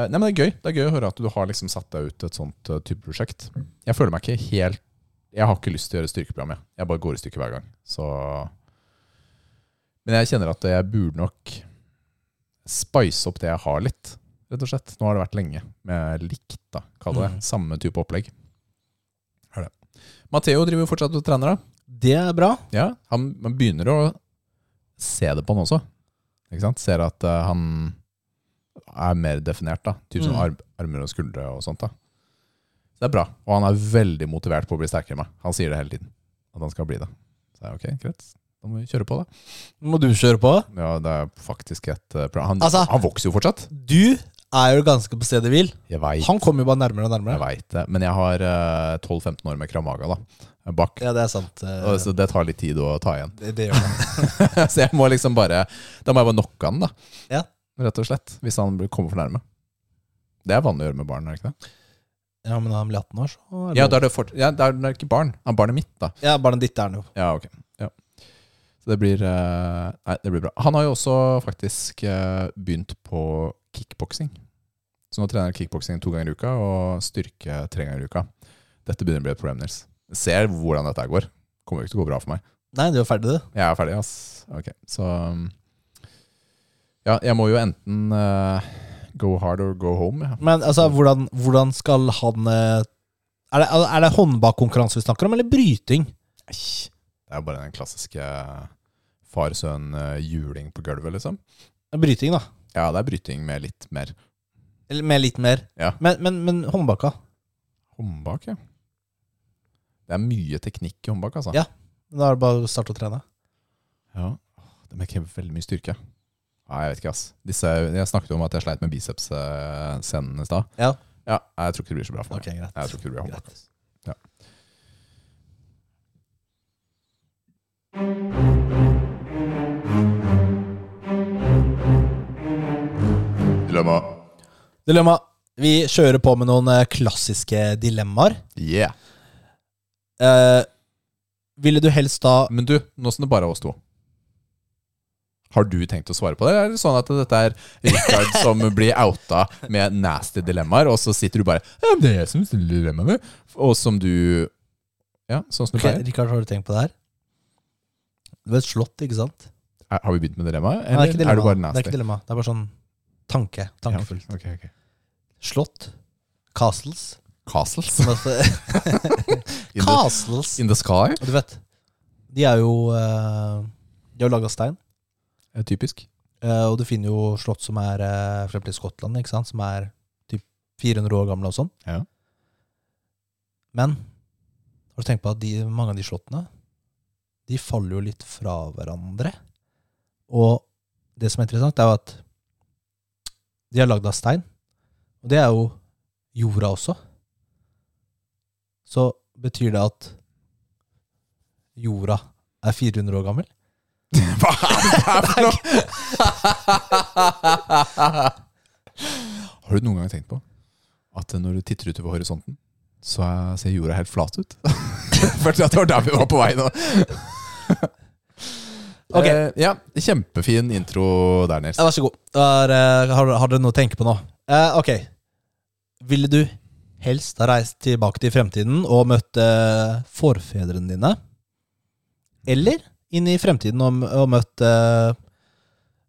Speaker 2: nei, men det er gøy Det er gøy å høre at du har liksom satt deg ut et sånt eh, type prosjekt. Jeg føler meg ikke helt Jeg har ikke lyst til å gjøre styrkeprogram. Jeg, jeg bare går i stykker hver gang. Så Men jeg kjenner at jeg burde nok spice opp det jeg har litt, rett og slett. Nå har det vært lenge med likt, da, kall det det.
Speaker 1: Mm.
Speaker 2: Samme type opplegg. Er det. Matheo driver jo fortsatt og trener, da.
Speaker 1: Det er bra.
Speaker 2: Ja, han, man begynner å se det på han også. Ikke sant? Ser at eh, han er mer definert, da. Typ som
Speaker 1: Mm.
Speaker 2: arm, armer og skuldre og sånt, da. Så det er bra. Og han er veldig motivert på å bli sterkere enn meg. Han sier det hele tiden. At han skal bli det. Så jeg, ok, greit. Da må vi kjøre på, da.
Speaker 1: Må du kjøre på?
Speaker 2: Ja, det er faktisk et eh, bra han,
Speaker 1: Altså-
Speaker 2: han vokser jo fortsatt.
Speaker 1: Du er jo ganske på stedet hvil.
Speaker 2: Jeg veit
Speaker 1: Han kommer jo bare nærmere og
Speaker 2: jeg
Speaker 1: nærmere.
Speaker 2: vet det. Men jeg har eh, 12-15 år med kramaga, da. Bak.
Speaker 1: Ja, det er sant. eh,
Speaker 2: Og Så det tar litt tid å ta igjen.
Speaker 1: Det, det gjør han.
Speaker 2: så jeg må liksom bare Da må jeg bare knocke han, da.
Speaker 1: Ja.
Speaker 2: Rett og slett. Hvis han blir- kommer for nærme. Det er vanlig å gjøre med barn, er det ikke det?
Speaker 1: Ja, men når han blir 18 år, så
Speaker 2: Ja, da er det, fort, ja, da er det ikke barn. Ja, barnet mitt, da.
Speaker 1: ja Barnet ditt er han jo.
Speaker 2: Ja, ok. Ja. Så det blir eh, Nei, det blir bra. Han har jo også faktisk eh, begynt på kickboksing. Så nå trener han kickboksing to ganger i uka og styrke tre ganger i uka. Dette begynner å bli et problem, Nils. Jeg Ser hvordan dette her går. Kommer jo ikke til å gå bra for meg.
Speaker 1: Nei, du er ferdig, du.
Speaker 2: Jeg er ferdig, ass. Ok, så um, Ja, jeg må jo enten eh, go hard or go home. Ja.
Speaker 1: Men altså, hvordan, hvordan skal han eh, Er det, er det håndbakkonkurranse vi snakker om, eller bryting?
Speaker 2: Det er jo bare den klassiske eh, far-sønn-juling på gulvet, liksom.
Speaker 1: Bryting, da.
Speaker 2: Ja, det er bryting med litt mer
Speaker 1: Eller med litt mer.
Speaker 2: Ja.
Speaker 1: Men, men, men håndbakka.
Speaker 2: håndbak, ja. Det er mye teknikk i håndbak, altså.
Speaker 1: Ja. Da er det bare å starte å trene.
Speaker 2: Ja. De krever veldig mye styrke. Nei, jeg vet ikke, ass. Disse, jeg snakket jo om at jeg sleit med biceps-scenen i stad.
Speaker 1: Ja.
Speaker 2: Ja, jeg tror ikke det blir så bra for meg.
Speaker 1: Ok, greit.
Speaker 2: Jeg tror ikke det blir håndbak.
Speaker 1: greit.
Speaker 2: Dilemma.
Speaker 1: Dilemma. Vi kjører på med noen eh, klassiske dilemmaer.
Speaker 2: Yeah.
Speaker 1: Eh, ville du helst da
Speaker 2: Men du, nå som det bare er oss to. Har du tenkt å svare på det? Eller er det sånn at dette er Rikard som blir outa med nasty dilemmaer, og så sitter du bare ja, men 'Det er jeg som stiller dilemmaene', og som du Ja, sånn som du
Speaker 1: Ok,
Speaker 2: pleier.
Speaker 1: Rikard, har du tenkt på det her? Det var et slott, ikke sant?
Speaker 2: Er- Har vi begynt med dilemmaet,
Speaker 1: Nei, det
Speaker 2: eller
Speaker 1: er ikke
Speaker 2: er,
Speaker 1: dilemma.
Speaker 2: du bare
Speaker 1: Det
Speaker 2: nasty?
Speaker 1: er ikke dilemma. Det er bare sånn tanke. Tankefullt.
Speaker 2: Ja, ok, ok.
Speaker 1: Slott. Castles.
Speaker 2: Castles
Speaker 1: Som også-
Speaker 2: in the,
Speaker 1: Castles.
Speaker 2: in the sky?
Speaker 1: Og du vet, de er jo eh, De er jo laga av stein.
Speaker 2: er Typisk.
Speaker 1: Eh, og du finner jo slott som er eh, for eksempel i Skottland, ikke sant? som er typ 400 år gamle og sånn.
Speaker 2: Ja.
Speaker 1: Men har du tenkt på at de, mange av de slottene De faller jo litt fra hverandre. Og det som er interessant, er jo at de er lagd av stein. Og det er jo jorda også. Så betyr det at jorda er 400 år gammel?
Speaker 2: Hva er det her for noe?! Har du noen gang tenkt på at når du titter utover horisonten, så er- ser jorda helt flat ut? Først at det var der vi var på vei nå.
Speaker 1: Ok.
Speaker 2: Eh, ja, kjempefin intro der, Nils.
Speaker 1: Ja, vær så god. Da er, eh, har, har dere noe å tenke på nå? Eh, ok. Ville du helst ha reist tilbake til fremtiden og møtt eh, forfedrene dine? Eller inn i fremtiden og, m- og møtt eh,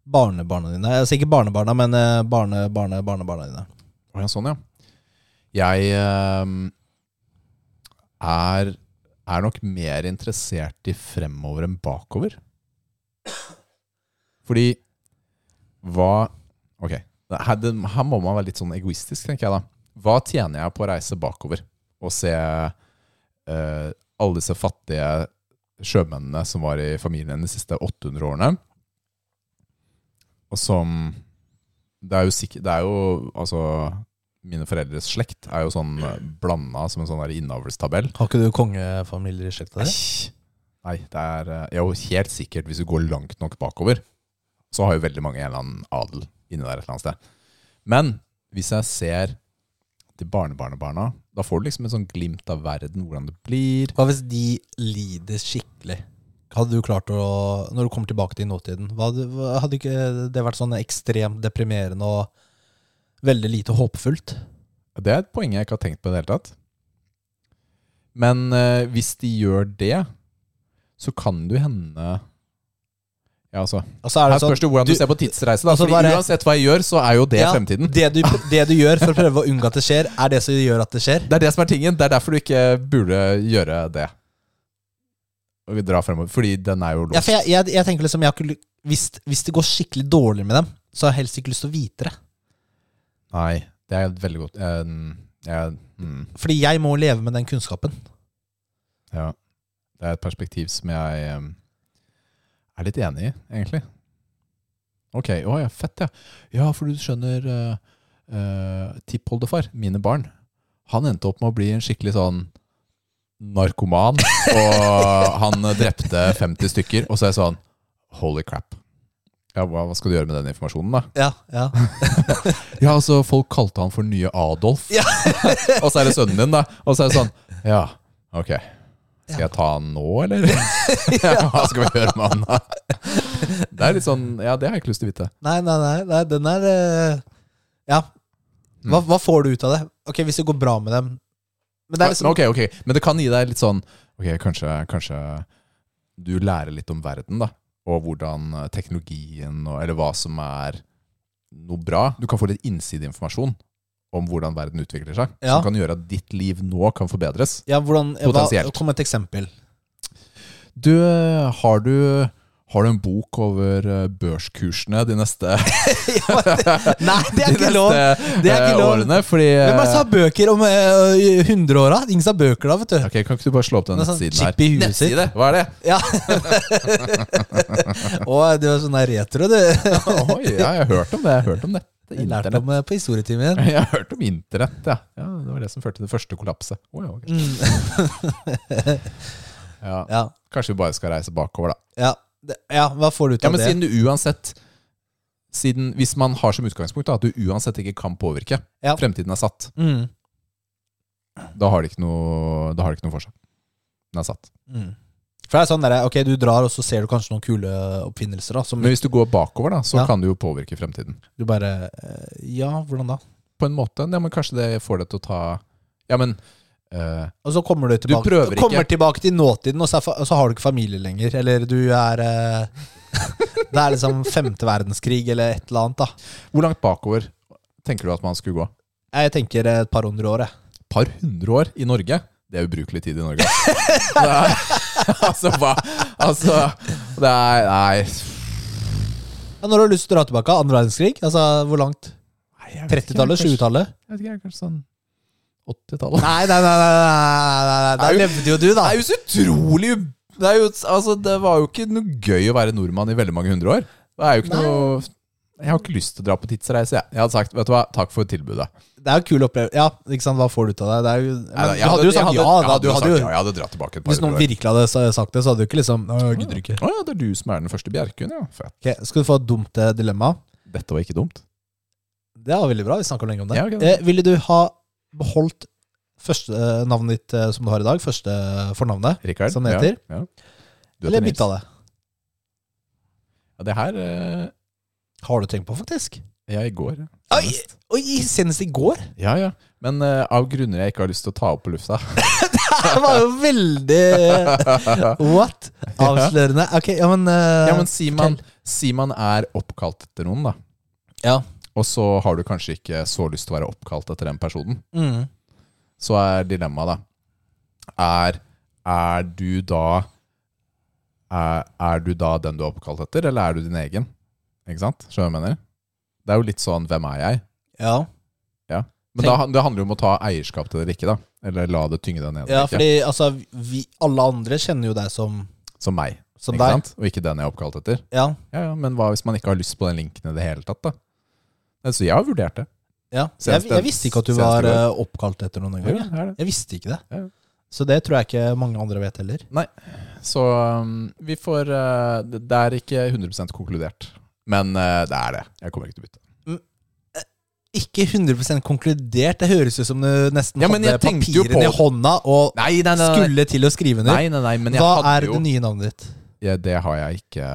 Speaker 1: barnebarna dine? Altså ikke barnebarna, men eh, barne, barne, barnebarna dine.
Speaker 2: Å ja, sånn, ja. Jeg ehm, er, er nok mer interessert i fremover enn bakover. Fordi hva Ok, her, det, her må man være litt sånn egoistisk, tenker jeg da. Hva tjener jeg på å reise bakover og se eh, alle disse fattige sjømennene som var i familien de siste 800 årene, og som det er jo sikkert Det er jo Altså Mine foreldres slekt er jo sånn blanda som en sånn der innavlstabell.
Speaker 1: Har ikke du kongefamilier i slekta di?
Speaker 2: Æsj. Nei, det er eh, jo helt sikkert hvis du går langt nok bakover, så har jo veldig mange en eller annen adel inni der et eller annet sted. Men hvis jeg ser til barnebarnebarna, da får du liksom en sånn glimt av verden, hvordan det blir.
Speaker 1: Hva hvis de lider skikkelig? Hadde du klart å Når du kommer tilbake til nåtiden, hva hadde, hva- hadde ikke det vært sånn ekstremt deprimerende og veldig lite håpfullt?
Speaker 2: Det er et poeng jeg ikke har tenkt på i det hele tatt. Men eh, hvis de gjør det, så kan det jo hende Ja, altså.
Speaker 1: Altså, er
Speaker 2: Her
Speaker 1: det sånn,
Speaker 2: spørs det hvordan du,
Speaker 1: du-
Speaker 2: ser på tidsreise. Da,
Speaker 1: Altså,
Speaker 2: fordi
Speaker 1: bare-
Speaker 2: Uansett hva jeg gjør, så er jo det
Speaker 1: Ja,
Speaker 2: fremtiden.
Speaker 1: Det du, det du gjør for å prøve å unngå at det skjer, er det som gjør at det skjer?
Speaker 2: Det er det som er tingen. Det er derfor du ikke burde gjøre det. Og vi drar fremover. Fordi den er
Speaker 1: Ja,
Speaker 2: jo låst.
Speaker 1: for jeg, jeg, jeg tenker liksom jeg har ikke, ly- hvis, hvis det går skikkelig dårlig med dem, så har jeg helst ikke lyst til å vite det.
Speaker 2: Nei, det er veldig godt. Eh, jeg- mm,
Speaker 1: Fordi jeg må leve med den kunnskapen.
Speaker 2: ja. Det er et perspektiv som jeg eh, er litt enig i, egentlig. Ok, å ja, fett ja. Ja, for du skjønner eh, eh, Tippoldefar, mine barn, han endte opp med å bli en skikkelig sånn narkoman, og han drepte 50 stykker, og så er jeg sånn, holy crap. Ja, hva, hva skal du gjøre med den informasjonen da?
Speaker 1: Ja, ja.
Speaker 2: Ja, altså, folk kalte han for nye Adolf.
Speaker 1: Ja.
Speaker 2: og så er det sønnen din, da. Og så er det sånn, ja, ok. Skal jeg ta han nå, eller? Hva skal vi gjøre med han da? Det er litt sånn, ja, det har jeg ikke lyst til å vite.
Speaker 1: Nei, nei, nei, nei den er eh, Ja. Hva,
Speaker 2: Mm.
Speaker 1: hva får du ut av det? Ok, Hvis det går bra med dem Men det er liksom
Speaker 2: Men ok, sånn, ok. Men det kan gi deg litt sånn Ok, kanskje, kanskje du lærer litt om verden, da. og hvordan eh, teknologien, og, eller hva som er noe bra. Du kan få litt innsideinformasjon om hvordan verden utvikler seg,
Speaker 1: Ja.
Speaker 2: som kan gjøre at ditt liv nå kan forbedres.
Speaker 1: Ja, hvordan, hva,
Speaker 2: Potensielt.
Speaker 1: kom med et eksempel.
Speaker 2: Du, har du, har du en bok over eh, børskursene de neste,
Speaker 1: Nei, det
Speaker 2: de
Speaker 1: er ikke lov!
Speaker 2: neste,
Speaker 1: Det er ikke
Speaker 2: eh,
Speaker 1: lov.
Speaker 2: årene? Fordi
Speaker 1: Hvem er det som har bøker om eh, 100-åra? Ingen som har bøker da, vet du.
Speaker 2: eh, Ok, Kan ikke du bare slå opp den
Speaker 1: Det er sånn
Speaker 2: nettsiden
Speaker 1: chip i
Speaker 2: her?
Speaker 1: huet sitt.
Speaker 2: Hva er det?
Speaker 1: Ja. Å, du er sånn der retro, du.
Speaker 2: Oi, ja, jeg har hørt om det. Jeg har hørt om det. Det er
Speaker 1: Jeg lærte
Speaker 2: internett.
Speaker 1: om eh, på historietimen.
Speaker 2: Jeg har hørt om internett, ja. ja. Det var det som førte til det første kollapset. Å, ja, ok. ja.
Speaker 1: Mm. Ja.
Speaker 2: Kanskje vi bare skal reise bakover, da.
Speaker 1: Ja. Det- ja, hva får du ut
Speaker 2: Ja,
Speaker 1: av
Speaker 2: Men
Speaker 1: det?
Speaker 2: siden du uansett siden, Hvis man har som utgangspunkt da, at du uansett ikke kan påvirke,
Speaker 1: Ja.
Speaker 2: fremtiden er satt,
Speaker 1: Mm.
Speaker 2: da har det ikke noe, da har det ikke noe for seg. Den er satt.
Speaker 1: Mm. For det er sånn der, ok, Du drar, og så ser du kanskje noen kule oppfinnelser. da Som
Speaker 2: Men hvis du går bakover, da, så
Speaker 1: Ja.
Speaker 2: kan du jo påvirke fremtiden.
Speaker 1: du bare eh, Ja, hvordan da?
Speaker 2: På en måte. Ja, men kanskje det får deg til å ta Ja, men eh,
Speaker 1: Og så kommer du tilbake,
Speaker 2: prøver ikke.
Speaker 1: kommer tilbake til nåtiden, og så, er, fa- og så har du ikke familie lenger. Eller du er eh, Det er liksom femte verdenskrig eller et eller annet. da
Speaker 2: Hvor langt bakover tenker du at man skulle gå?
Speaker 1: Jeg tenker et par hundre år. Jeg.
Speaker 2: par hundre år i Norge. Det er ubrukelig tid i Norge. Det er, altså, hva Altså, det er Nei.
Speaker 1: Ja, når har du lyst til å dra tilbake? Andre verdenskrig? Altså, Hvor langt?
Speaker 2: Nei, jeg vet ikke,
Speaker 1: 30-tallet?
Speaker 2: kanskje-
Speaker 1: 20-tallet?
Speaker 2: Jeg vet ikke, kanskje sånn 80-tallet.
Speaker 1: Nei, nei, nei, nei, nei, nei, nei. Der
Speaker 2: Det er jo-
Speaker 1: levde jo du, da.
Speaker 2: Det er jo så utrolig u- det, er jo, altså, det var jo ikke noe gøy å være nordmann i veldig mange hundre år. Det er jo ikke noe Jeg har ikke lyst til å dra på tidsreise, jeg. Jeg hadde sagt vet du hva, takk for tilbudet.
Speaker 1: Det er jo kul opplevelse. Ja, ikke sant? Hva får du ut av det? det er jo, men,
Speaker 2: Jeg
Speaker 1: du hadde jo
Speaker 2: jeg
Speaker 1: sagt
Speaker 2: hadde-
Speaker 1: ja.
Speaker 2: jeg
Speaker 1: da,
Speaker 2: hadde
Speaker 1: du
Speaker 2: jo
Speaker 1: hadde
Speaker 2: sagt
Speaker 1: jo,
Speaker 2: ja, jeg hadde dratt tilbake et par
Speaker 1: hvis noen
Speaker 2: hundre år.
Speaker 1: virkelig hadde sa- sagt det, så hadde du ikke liksom «Å, Jeg gidder ikke.
Speaker 2: Å ja, det er du som er den første Bjerkun, ja. Fett.
Speaker 1: Ok, skal du få et dumt eh, dilemma?
Speaker 2: Dette var ikke dumt.
Speaker 1: Det var veldig bra. Vi snakka lenge om det.
Speaker 2: Ja, ok.
Speaker 1: eh, ville du ha beholdt første eh, navnet ditt eh, som du har i dag? Første eh, fornavnet?
Speaker 2: Rikard.
Speaker 1: Som det heter.
Speaker 2: Ja, ja. Du heter
Speaker 1: Eller
Speaker 2: Nils.
Speaker 1: bytta det?
Speaker 2: Ja, det her eh,
Speaker 1: Har du tenkt på, faktisk?
Speaker 2: Ja, i går. ja.
Speaker 1: Oi, oi, senest i går!
Speaker 2: Ja, ja. Men eh, av grunner jeg ikke har lyst til å ta opp på lufta.
Speaker 1: Det var jo veldig What? Avslørende. Ok, ja, men, eh,
Speaker 2: Ja, men si man, si man er oppkalt etter noen, da.
Speaker 1: Ja.
Speaker 2: Og så har du kanskje ikke så lyst til å være oppkalt etter den personen.
Speaker 1: mm,
Speaker 2: Så er dilemmaet, da Er, er du da er, er du da den du er oppkalt etter, eller er du din egen? Ikke sant? Skjønner du hva jeg mener? Det er jo litt sånn 'hvem er jeg?'
Speaker 1: ja.
Speaker 2: Men da, det handler jo om å ta eierskap til det eller ikke, da. Eller la det tynge deg
Speaker 1: ja,
Speaker 2: ned. eller ikke.
Speaker 1: fordi altså, vi, alle andre kjenner jo deg som,
Speaker 2: Som meg,
Speaker 1: som
Speaker 2: ikke
Speaker 1: deg.
Speaker 2: sant? og ikke den jeg er oppkalt etter.
Speaker 1: Ja,
Speaker 2: Ja, ja, Men hva hvis man ikke har lyst på den linken i det hele tatt, da? Nei, Så jeg har vurdert det.
Speaker 1: ja. Jeg,
Speaker 2: Senest-
Speaker 1: jeg visste ikke at du
Speaker 2: senest i
Speaker 1: var
Speaker 2: går.
Speaker 1: eh, oppkalt etter noen gang.
Speaker 2: Ja, det er det.
Speaker 1: Jeg visste ikke det.
Speaker 2: Ja.
Speaker 1: Så det tror jeg ikke mange andre vet heller.
Speaker 2: Så um, vi får uh, Det det er ikke 100 konkludert. Men uh, det er det. Jeg kommer ikke til å bytte.
Speaker 1: Ikke 100 konkludert. Det høres ut som du nesten
Speaker 2: Ja, men
Speaker 1: hadde
Speaker 2: jeg tenkte jo
Speaker 1: papirene i
Speaker 2: på-
Speaker 1: hånda og
Speaker 2: Nei, nei,
Speaker 1: skulle til å skrive
Speaker 2: Nei,
Speaker 1: ned.
Speaker 2: nei, nei, men jeg
Speaker 1: Hva
Speaker 2: hadde
Speaker 1: er
Speaker 2: jo
Speaker 1: det nye navnet ditt?
Speaker 2: ja, Det har jeg ikke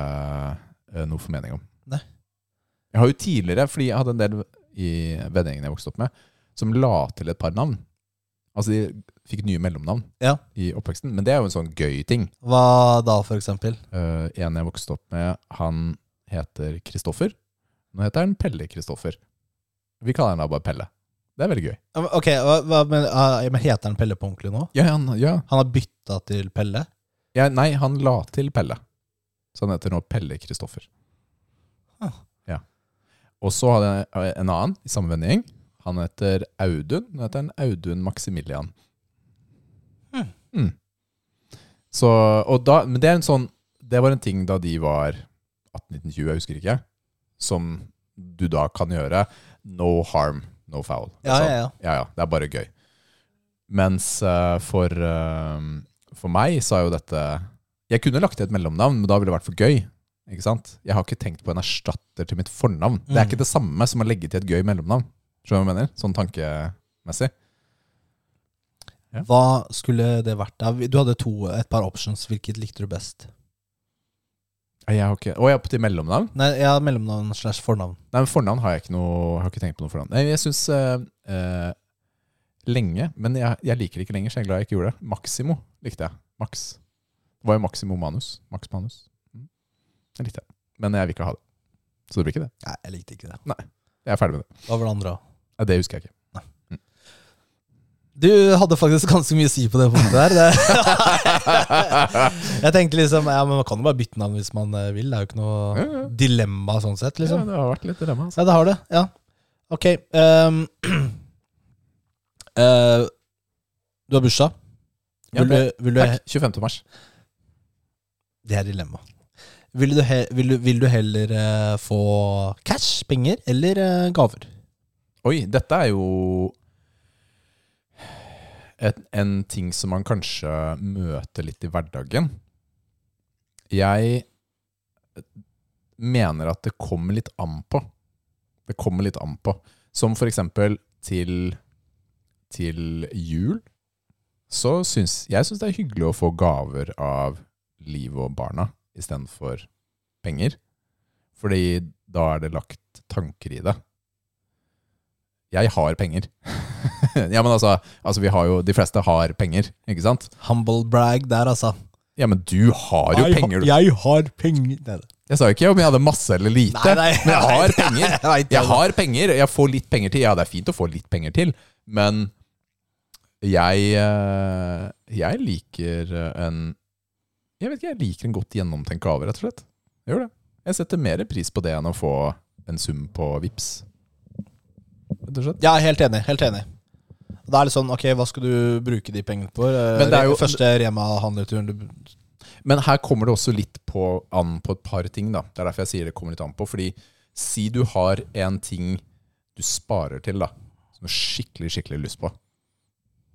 Speaker 2: uh, noe formening om.
Speaker 1: Nei.
Speaker 2: Jeg har jo tidligere, fordi jeg hadde en del i vennegjengen jeg vokste opp med, som la til et par navn. Altså, de fikk nye mellomnavn
Speaker 1: Ja.
Speaker 2: i oppveksten. Men det er jo en sånn gøy ting.
Speaker 1: Hva da, for eksempel?
Speaker 2: Eh, en jeg vokste opp med, han heter Kristoffer. Nå heter han Pelle Kristoffer. Vi kaller han da bare Pelle. Det er veldig gøy.
Speaker 1: Ja, men, Ok, hva, hva, men, ah, men Heter han Pelle på ordentlig nå?
Speaker 2: Ja, han, ja.
Speaker 1: Han har bytta til Pelle?
Speaker 2: Ja, nei, han la til Pelle. Så han heter nå Pelle Kristoffer.
Speaker 1: Ah.
Speaker 2: Ja. Og så hadde jeg en annen i samme vennegjeng. Han heter Audun. Nå heter han Audun Maximilian.
Speaker 1: Hmm.
Speaker 2: Mm. Så, og da, men det er en sånn Det var en ting da de var 18-19-20, jeg husker ikke, som du da kan gjøre. No harm, no foul. Det er
Speaker 1: Ja,
Speaker 2: sånn.
Speaker 1: ja, ja.
Speaker 2: Ja, ja, det er bare gøy. Mens eh, for, eh, for meg så er jo dette Jeg kunne lagt til et mellomnavn, men da ville det vært for gøy. Ikke sant? Jeg har ikke tenkt på en erstatter til mitt fornavn. Det er
Speaker 1: Mm.
Speaker 2: ikke det samme som å legge til et gøy mellomnavn. Skjønner du hva jeg mener? Sånn tankemessig. Ja.
Speaker 1: Altså, Hva skulle det vært? da? Du hadde to, et par options. Hvilket likte du best?
Speaker 2: Nei, Jeg har ikke, å, ja, til mellomnavn?
Speaker 1: Nei, ja, Mellomnavn slash fornavn.
Speaker 2: Nei, men fornavn har jeg ikke noe Jeg har ikke tenkt på noe fornavn. Nei, jeg syns lenge, men jeg, jeg liker det ikke lenger, så jeg er glad jeg ikke gjorde det. Maximo likte jeg. Max. Det var jo Maximo Manus. Max Manus. Mm. Jeg likte det. Men jeg vil ikke ha det. Så det blir ikke det.
Speaker 1: Nei, jeg likte ikke det.
Speaker 2: Jeg er ferdig med det.
Speaker 1: Hva var det andre? da?
Speaker 2: Nei, det husker jeg ikke.
Speaker 1: Du hadde faktisk ganske mye å si på det punktet der. Det. jeg tenkte liksom Ja, men man kan jo bare bytte navn hvis man eh, vil. Det er jo ikke noe
Speaker 2: Ja, ja.
Speaker 1: dilemma sånn sett, liksom.
Speaker 2: Ja, det har vært litt dilemma. Altså.
Speaker 1: Ja, det har det. Ja. Ok. ehm, eh, du har bursdag.
Speaker 2: Ja,
Speaker 1: Vil du, vil du,
Speaker 2: Takk. 25. mars.
Speaker 1: det er dilemma. Vil du, he, vil du, vil du heller eh, få cash, penger, eller eh, gaver?
Speaker 2: Oi, dette er jo et, en ting som man kanskje møter litt i hverdagen. Jeg mener at det kommer litt an på. Det kommer litt an på. Som for eksempel til, til jul, så syns jeg syns det er hyggelig å få gaver av liv og barna istedenfor penger. Fordi da er det lagt tanker i det jeg har penger. ja, men altså, altså vi har jo, De fleste har penger, ikke sant?
Speaker 1: Humble brag der, altså.
Speaker 2: Ja, men du har jo
Speaker 1: jeg,
Speaker 2: penger. du.
Speaker 1: jeg har penger Det er det.
Speaker 2: Jeg sa jo ikke om jeg hadde masse eller lite,
Speaker 1: Nei, nei,
Speaker 2: men jeg
Speaker 1: nei,
Speaker 2: har penger.
Speaker 1: Jeg vet
Speaker 2: Jeg
Speaker 1: det.
Speaker 2: har penger, jeg får litt penger til. Ja, det er fint å få litt penger til, men jeg eh, Jeg liker en Jeg vet ikke, jeg liker en godt gjennomtenkt gave, rett og slett. Jeg gjør det. Jeg setter mer pris på det enn å få en sum på VIPs. Rett og slett.
Speaker 1: Ja, helt enig. Helt enig. Da er det sånn, ok, hva skal du bruke de pengene på? Eh,
Speaker 2: Men det er jo-
Speaker 1: Første Rema-handleturen du
Speaker 2: Men her kommer det også litt på, an på et par ting. da. Det er derfor jeg sier det kommer litt an på. Fordi si du har en ting du sparer til, da, som du har skikkelig, skikkelig lyst på,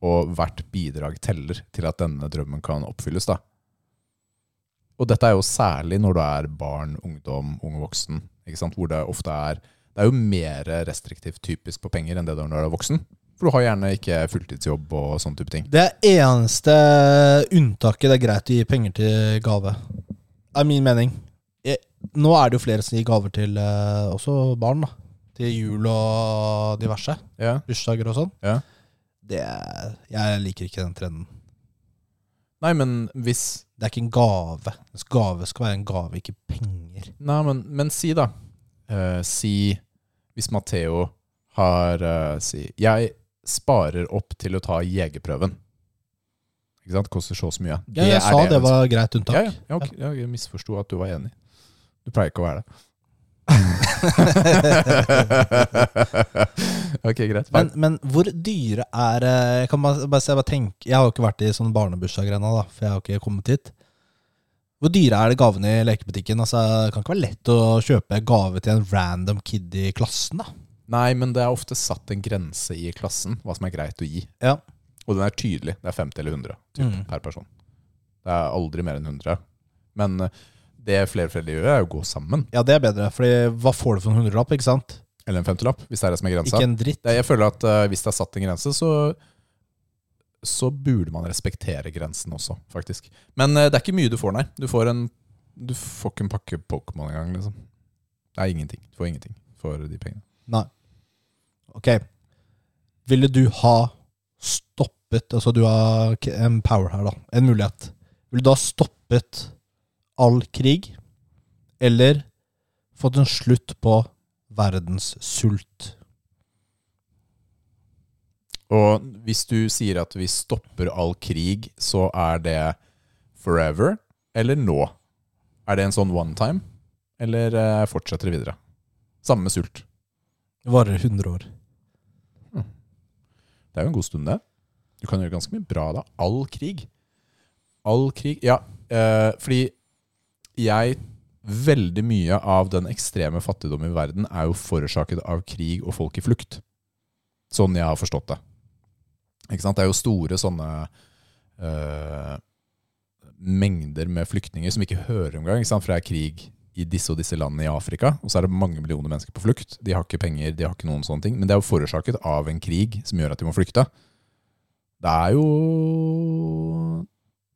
Speaker 2: og hvert bidrag teller til at denne drømmen kan oppfylles, da. Og dette er jo særlig når du er barn, ungdom, ung voksen, ikke sant? hvor det ofte er Det er jo mer restriktivt typisk på penger enn det det er når du er voksen. For du har gjerne ikke fulltidsjobb og sånn type ting.
Speaker 1: Det eneste unntaket det er greit å gi penger til gave, er min mening. Jeg, nå er det jo flere som gir gaver til eh, også barn, da. Til jul og diverse.
Speaker 2: Ja.
Speaker 1: Bursdager og sånn.
Speaker 2: Ja.
Speaker 1: Det er- Jeg liker ikke den trenden.
Speaker 2: Nei, men hvis
Speaker 1: Det er ikke en gave. En gave skal være en gave, ikke penger.
Speaker 2: Nei, men, men si da eh, Si hvis Matteo har eh, Si Jeg sparer opp til å ta jegerprøven. Ikke sant? Koster så og så mye.
Speaker 1: Ja, jeg
Speaker 2: er
Speaker 1: sa det altså.
Speaker 2: jeg
Speaker 1: var greit unntak.
Speaker 2: Ja, ja, ja, ok, ja, jeg misforsto at du var enig. Du pleier ikke å være det. ok, greit.
Speaker 1: Men, men hvor dyre er eh, Jeg kan bare, bare, se, jeg bare tenke Jeg har jo ikke vært i sånn barnebursdager ennå, da, for jeg har jo ikke kommet hit. Hvor dyre er det gavene i lekebutikken? Altså, det kan ikke være lett å kjøpe gave til en random kid i klassen, da.
Speaker 2: Nei, men det er ofte satt en grense i klassen hva som er greit å gi.
Speaker 1: Ja.
Speaker 2: Og den er tydelig. Det er 50 eller 100 typ,
Speaker 1: Mm.
Speaker 2: per person. Det er aldri mer enn 100. Men eh, det flere og flere gjør, er å gå sammen.
Speaker 1: Ja, det er bedre, Fordi hva får du for en hundrelapp, ikke sant?
Speaker 2: Eller en femtelapp, hvis det er det som er grensa.
Speaker 1: Ikke en dritt.
Speaker 2: Det- Jeg føler at eh, hvis det er satt en grense, så, så burde man respektere grensen også, faktisk. Men eh, det er ikke mye du får, nei. Du får, en, du får ikke en pakke Pokémon engang, liksom. Det er ingenting. Du får ingenting for de pengene.
Speaker 1: Nei. Ok. Ville du ha stoppet Altså, du har k- en power her, da. En mulighet. Ville du ha stoppet all krig, eller fått en slutt på verdens sult?
Speaker 2: Og hvis du sier at vi stopper all krig, så er det forever eller nå? Er det en sånn one time, eller eh, fortsetter det videre? Samme med sult.
Speaker 1: Det varer 100 år.
Speaker 2: Det er jo en god stund, det. Du kan gjøre ganske mye bra da. All krig. All krig Ja, eh, fordi jeg Veldig mye av den ekstreme fattigdommen i verden er jo forårsaket av krig og folk i flukt. Sånn jeg har forstått det. Ikke sant? Det er jo store sånne eh, mengder med flyktninger som ikke hører om gang, ikke sant? for det er krig i disse og disse landene i Afrika, og så er det mange millioner mennesker på flukt. De har ikke penger, de har ikke noen sånne ting, men det er jo forårsaket av en krig som gjør at de må flykte. Det er jo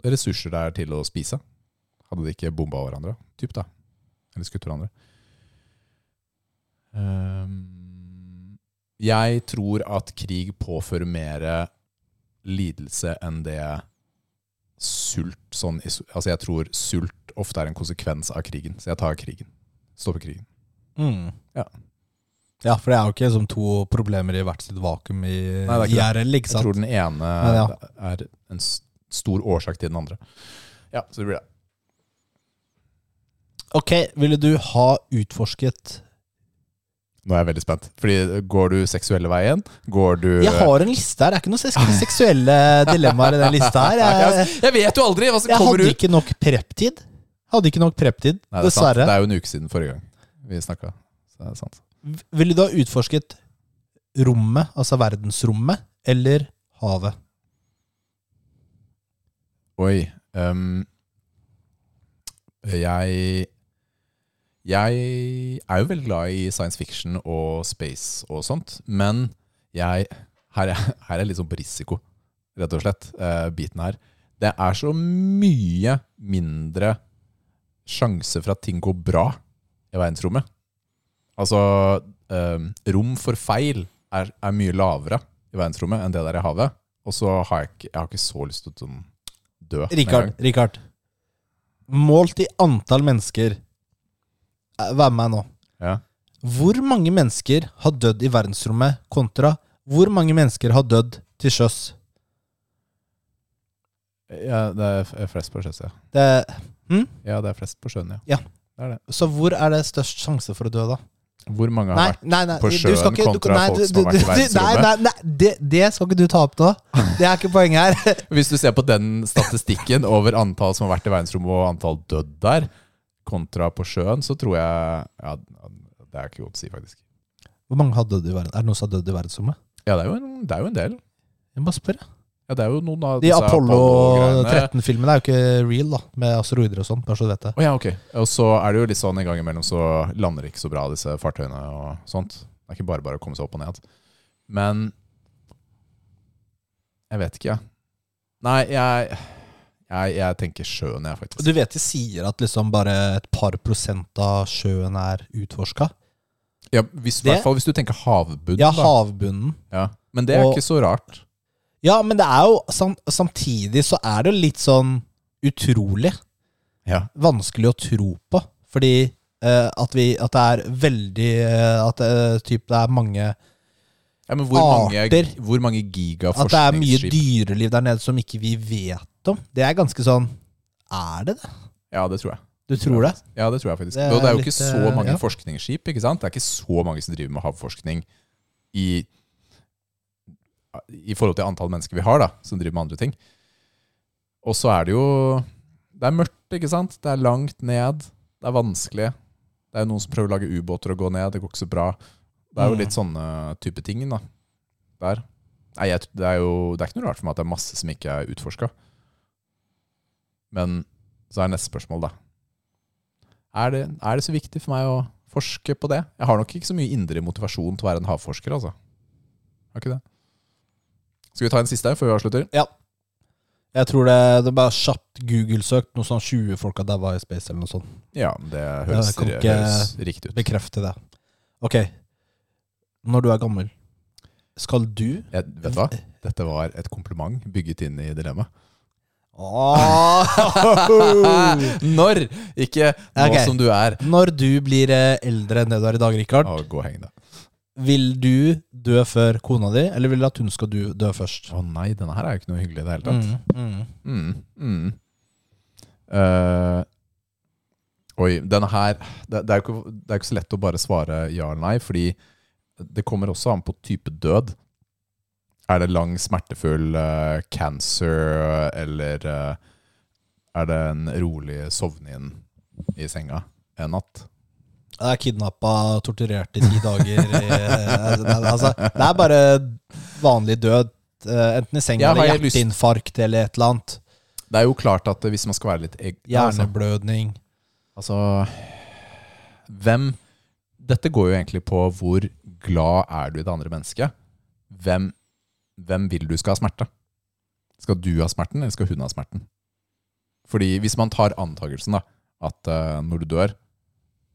Speaker 2: ressurser der til å spise. Hadde de ikke bomba hverandre, typ da. Eller skutt hverandre. Ehm, jeg tror at krig påfører mer lidelse enn det sult sånn iso- Altså, jeg tror sult ofte er en konsekvens av krigen. Så jeg tar krigen. Stopper krigen.
Speaker 1: Mm.
Speaker 2: Ja.
Speaker 1: Ja, for det er jo ikke liksom to problemer i hvert sitt vakuum i
Speaker 2: Nei, det er ikke
Speaker 1: IRL, ikke
Speaker 2: Jeg
Speaker 1: sant?
Speaker 2: tror den ene
Speaker 1: Men ja.
Speaker 2: er en s- stor årsak til den andre. Ja, så det blir det.
Speaker 1: Ok, ville du ha utforsket
Speaker 2: Nå er jeg veldig spent. Fordi går du seksuelle veien? Går du
Speaker 1: Jeg har en liste her, det er ikke noen seks- seksuelle dilemmaer i den lista her. Jeg,
Speaker 2: Jeg vet jo aldri hva som
Speaker 1: jeg
Speaker 2: kommer
Speaker 1: hadde
Speaker 2: ut!
Speaker 1: ikke nok prep-tid. Hadde ikke nok prep-tid,
Speaker 2: Nei, det, er sant.
Speaker 1: dessverre.
Speaker 2: det er jo en uke siden forrige gang vi snakka. Så det er sant.
Speaker 1: V- Ville du ha utforsket rommet, altså verdensrommet, eller havet?
Speaker 2: Oi. ehm, jeg Jeg er jo veldig glad i science fiction og space og sånt, men jeg Her er, her er litt sånn på risiko, rett og slett, eh, biten her. Det er så mye mindre sjanse for at ting går bra i verdensrommet. Altså, ehm, rom for feil er, er mye lavere i verdensrommet enn det der i havet. Og så har jeg ikke, jeg har ikke så lyst til å sånn dø. med en
Speaker 1: Rikard,
Speaker 2: gang.
Speaker 1: Rikard. Målt i antall mennesker Eh, Vær med meg nå.
Speaker 2: Ja.
Speaker 1: Hvor mange mennesker har dødd i verdensrommet kontra hvor mange mennesker har dødd til sjøs?
Speaker 2: Ja, det er f- eh, flest på sjøen, ja.
Speaker 1: Det,
Speaker 2: Ja, det er flest på sjøen, ja.
Speaker 1: så hvor er det størst sjanse for å dø, da?
Speaker 2: Hvor mange har
Speaker 1: Nei,
Speaker 2: vært
Speaker 1: nei, nei
Speaker 2: på
Speaker 1: du
Speaker 2: sjøen
Speaker 1: skal ikke- du-
Speaker 2: kontra
Speaker 1: nei,
Speaker 2: folk
Speaker 1: du-
Speaker 2: som har
Speaker 1: du-
Speaker 2: vært i
Speaker 1: du- nei,
Speaker 2: verdensrommet.
Speaker 1: Nei, nei, det, det skal ikke du ta opp nå. Det er ikke poenget her.
Speaker 2: Hvis du ser på den statistikken over antall som har vært i verdensrommet og antall dødd der, kontra på sjøen, så tror jeg Ja, det er ikke godt å si, faktisk.
Speaker 1: Hvor mange har dødd i verden? Er det noen som har dødd i verdensrommet?
Speaker 2: Ja, det er jo en, det er jo en del.
Speaker 1: Jeg bare spør.
Speaker 2: Ja, det er jo noen av
Speaker 1: De
Speaker 2: disse
Speaker 1: Apollo
Speaker 2: Apollo-greiene.
Speaker 1: 13-filmene er jo ikke real, da, med asteroider og sånn. Bare så du vet det.
Speaker 2: Å ja, ok. Og så er det jo litt sånn en gang imellom så lander det ikke så bra, disse fartøyene og sånt. Det er ikke bare bare å komme seg opp og ned. Men jeg vet ikke, jeg. Nei, jeg, jeg, jeg tenker sjøen, jeg, faktisk.
Speaker 1: Du vet de sier at liksom bare et par prosent av sjøen er utforska?
Speaker 2: ja, hvis, I
Speaker 1: Det-
Speaker 2: hvert fall hvis du tenker havbunn.
Speaker 1: Ja,
Speaker 2: da.
Speaker 1: havbunnen.
Speaker 2: ja. Men det er
Speaker 1: Og-
Speaker 2: ikke så rart.
Speaker 1: Ja, men det er jo sam- samtidig så er det jo litt sånn utrolig
Speaker 2: Ja.
Speaker 1: vanskelig å tro på. Fordi eh, at, vi, at det er veldig eh, At eh, typ, det er mange
Speaker 2: men hvor mange,
Speaker 1: Arter.
Speaker 2: hvor mange
Speaker 1: At det er mye
Speaker 2: gigaforskningsskip
Speaker 1: dyreliv der nede som ikke vi vet om. Det er ganske sånn Er det det?
Speaker 2: Ja, det tror jeg.
Speaker 1: Du tror det?
Speaker 2: Ja, det tror jeg faktisk.
Speaker 1: Det
Speaker 2: Det er, det er jo
Speaker 1: er
Speaker 2: ikke
Speaker 1: litt,
Speaker 2: så
Speaker 1: eh,
Speaker 2: mange
Speaker 1: ja.
Speaker 2: forskningsskip, ikke sant? Det er ikke så mange som driver med havforskning i, i forhold til antall mennesker vi har, da, som driver med andre ting. Og så er det jo Det er mørkt, ikke sant? Det er langt ned. Det er vanskelig. Det er noen som prøver å lage ubåter og gå ned. Det går ikke så bra. Det er jo
Speaker 1: Mm.
Speaker 2: litt sånne type ting, da. Der. Nei, jeg, det er jo Det er ikke noe rart for meg at det er masse som ikke er utforska. Men så er neste spørsmål, da. Er det, er det så viktig for meg å forske på det? Jeg har nok ikke så mye indre motivasjon til å være en havforsker, altså. Har ikke det? Skal vi ta en siste her før vi avslutter?
Speaker 1: Jeg tror det, det er bare kjapt Google-søkt. Noe sånn 20 folk har daua i space, eller noe sånt.
Speaker 2: Ja, det høres,
Speaker 1: det kom ikke-
Speaker 2: høres riktig ut.
Speaker 1: Bekrefte det. Ok. Når du er gammel, skal du
Speaker 2: Jeg, vet du hva? Dette var et kompliment bygget inn i dilemmaet.
Speaker 1: Ah.
Speaker 2: Når! Ikke nå
Speaker 1: Ok.
Speaker 2: som du er.
Speaker 1: Når du blir eh, eldre enn det du er i dag, Rikard,
Speaker 2: Å, gå og heng deg.
Speaker 1: vil du dø før kona di, eller vil du at hun skal du dø først?
Speaker 2: Å nei, denne her er jo ikke noe hyggelig i det hele
Speaker 1: Mm,
Speaker 2: tatt.
Speaker 1: mm.
Speaker 2: Mm, mm. Eh, oi, denne her det, det, er jo ikke, det er jo ikke så lett å bare svare ja eller nei, fordi det kommer også an på type død. Er det lang, smertefull eh, cancer, eller eh, er det en rolig sovne inn i senga en natt?
Speaker 1: Jeg er kidnappa, torturert i ti dager. eh, altså, det- altså, det er bare vanlig død. eh, Enten i senga
Speaker 2: Ja, har
Speaker 1: eller
Speaker 2: jeg lyst-
Speaker 1: hjerteinfarkt eller et eller annet.
Speaker 2: Det er jo klart at hvis man skal være litt egg, altså,
Speaker 1: Hjerneblødning.
Speaker 2: Altså Hvem Dette går jo egentlig på hvor glad er du i det andre mennesket. Hvem, hvem vil du skal ha smerte? Skal du ha smerten, eller skal hun ha smerten? Fordi hvis man tar antakelsen da, at eh, når du dør,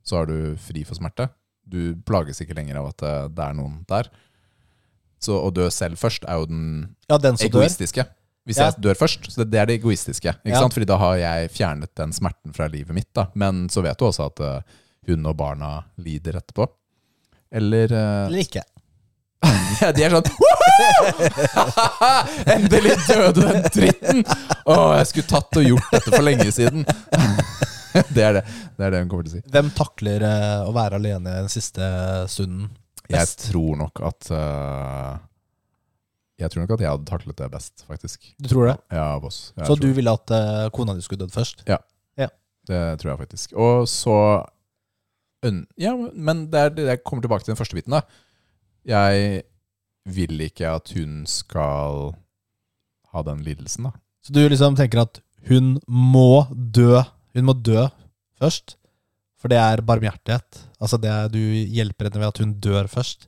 Speaker 2: så er du fri for smerte. Du plages ikke lenger av at eh, det er noen der. Så å dø selv først er jo den
Speaker 1: Ja, den som dør.
Speaker 2: egoistiske. Hvis
Speaker 1: Ja.
Speaker 2: jeg dør først. Så det, det er det egoistiske. Ikke
Speaker 1: Ja.
Speaker 2: sant? Fordi da har jeg fjernet den smerten fra livet mitt. Da. Men så vet du også at eh, hun og barna lider etterpå. Eller eh,
Speaker 1: Eller ikke.
Speaker 2: ja, De er sånn «Woohoo! Endelig døde den dritten! Å, jeg skulle tatt og gjort dette for lenge siden. det er det Det er det hun kommer til å si.
Speaker 1: Hvem takler eh, å være alene den siste stunden?
Speaker 2: Jeg
Speaker 1: Best.
Speaker 2: tror nok at eh, Jeg tror nok at jeg hadde taklet det best, faktisk.
Speaker 1: Du tror det?
Speaker 2: Ja, av oss. Jeg
Speaker 1: Så
Speaker 2: tror
Speaker 1: du ville at eh, kona di skulle dødd først?
Speaker 2: Det tror jeg faktisk. Og så øn- Ja, men det er det jeg kommer tilbake til den første biten, da. Jeg vil ikke at hun skal ha den lidelsen, da.
Speaker 1: Så du liksom tenker at hun må dø Hun må dø først For det er barmhjertighet Altså det er du hjelper henne ved at hun dør først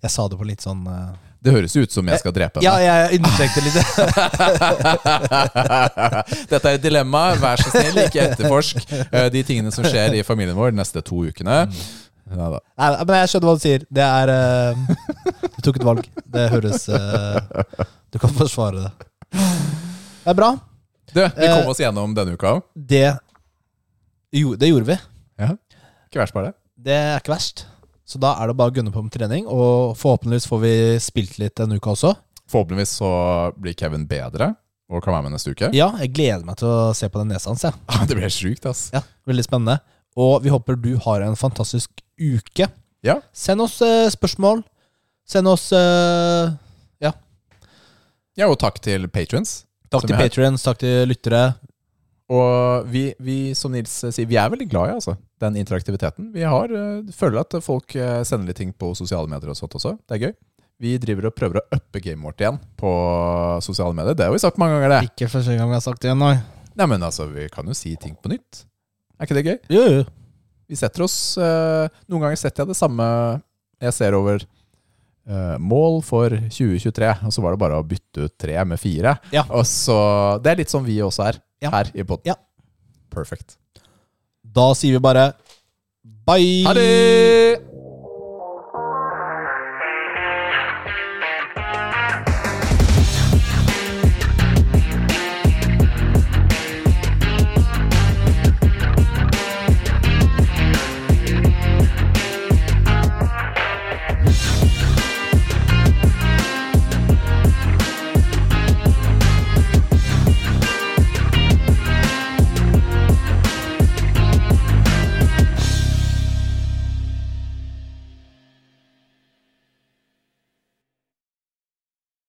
Speaker 1: Jeg sa det på litt sånn eh,
Speaker 2: Det høres jo ut som jeg skal drepe
Speaker 1: Ja,
Speaker 2: henne.
Speaker 1: jeg understrekte litt
Speaker 2: Dette er et dilemma. Vær så snill, ikke etterforsk eh, de tingene som skjer i familien vår de neste to ukene.
Speaker 1: Mm.
Speaker 2: Ja, da.
Speaker 1: Nei, men jeg skjønner hva du sier Det er eh, Du tok et valg Det høres eh, Du kan forsvare det Det er bra
Speaker 2: Du, vi
Speaker 1: Eh.
Speaker 2: kom oss gjennom denne uka òg.
Speaker 1: Det, jo, det gjorde vi
Speaker 2: Ikke verst bare det.
Speaker 1: Det er ikke verst Så da er det bare å gunne på med trening Og forhåpentligvis får vi spilt litt denne uka også
Speaker 2: Forhåpentligvis så blir Kevin bedre og kan være med neste uke. Ah,
Speaker 1: Ja, jeg gleder meg til å se på den nesa hans. jeg.
Speaker 2: Det blir sjukt, ass.
Speaker 1: Ja. Veldig spennende. Og vi håper du har en fantastisk uke.
Speaker 2: Ja.
Speaker 1: Send oss eh, spørsmål. Send oss eh,
Speaker 2: Ja, og takk til patrons.
Speaker 1: Takk
Speaker 2: Som
Speaker 1: til
Speaker 2: jeg har.
Speaker 1: patrions, takk til lyttere.
Speaker 2: Og vi, vi, som Nils sier, vi er veldig glad i altså, den interaktiviteten. Vi har, eh, føler at folk eh, sender litt ting på sosiale medier og sånt også. Det er gøy. Vi driver og prøver å uppe gamet vårt igjen på sosiale medier. Det har vi sagt mange ganger, det.
Speaker 1: Ikke første gang jeg har sagt det igjen, nei.
Speaker 2: Nei, men altså, vi kan jo si ting på nytt. Er ikke det gøy?
Speaker 1: Jo, jo.
Speaker 2: Vi setter oss eh, Noen ganger setter jeg det samme jeg ser over eh, mål for 2023, og så var det bare å bytte ut tre med fire.
Speaker 1: Ja.
Speaker 2: Og så, det er litt sånn vi også er
Speaker 1: Ja.
Speaker 2: her i podden.
Speaker 1: Ja.
Speaker 2: Perfect.
Speaker 1: Da sier vi bare bye.
Speaker 2: Ha det!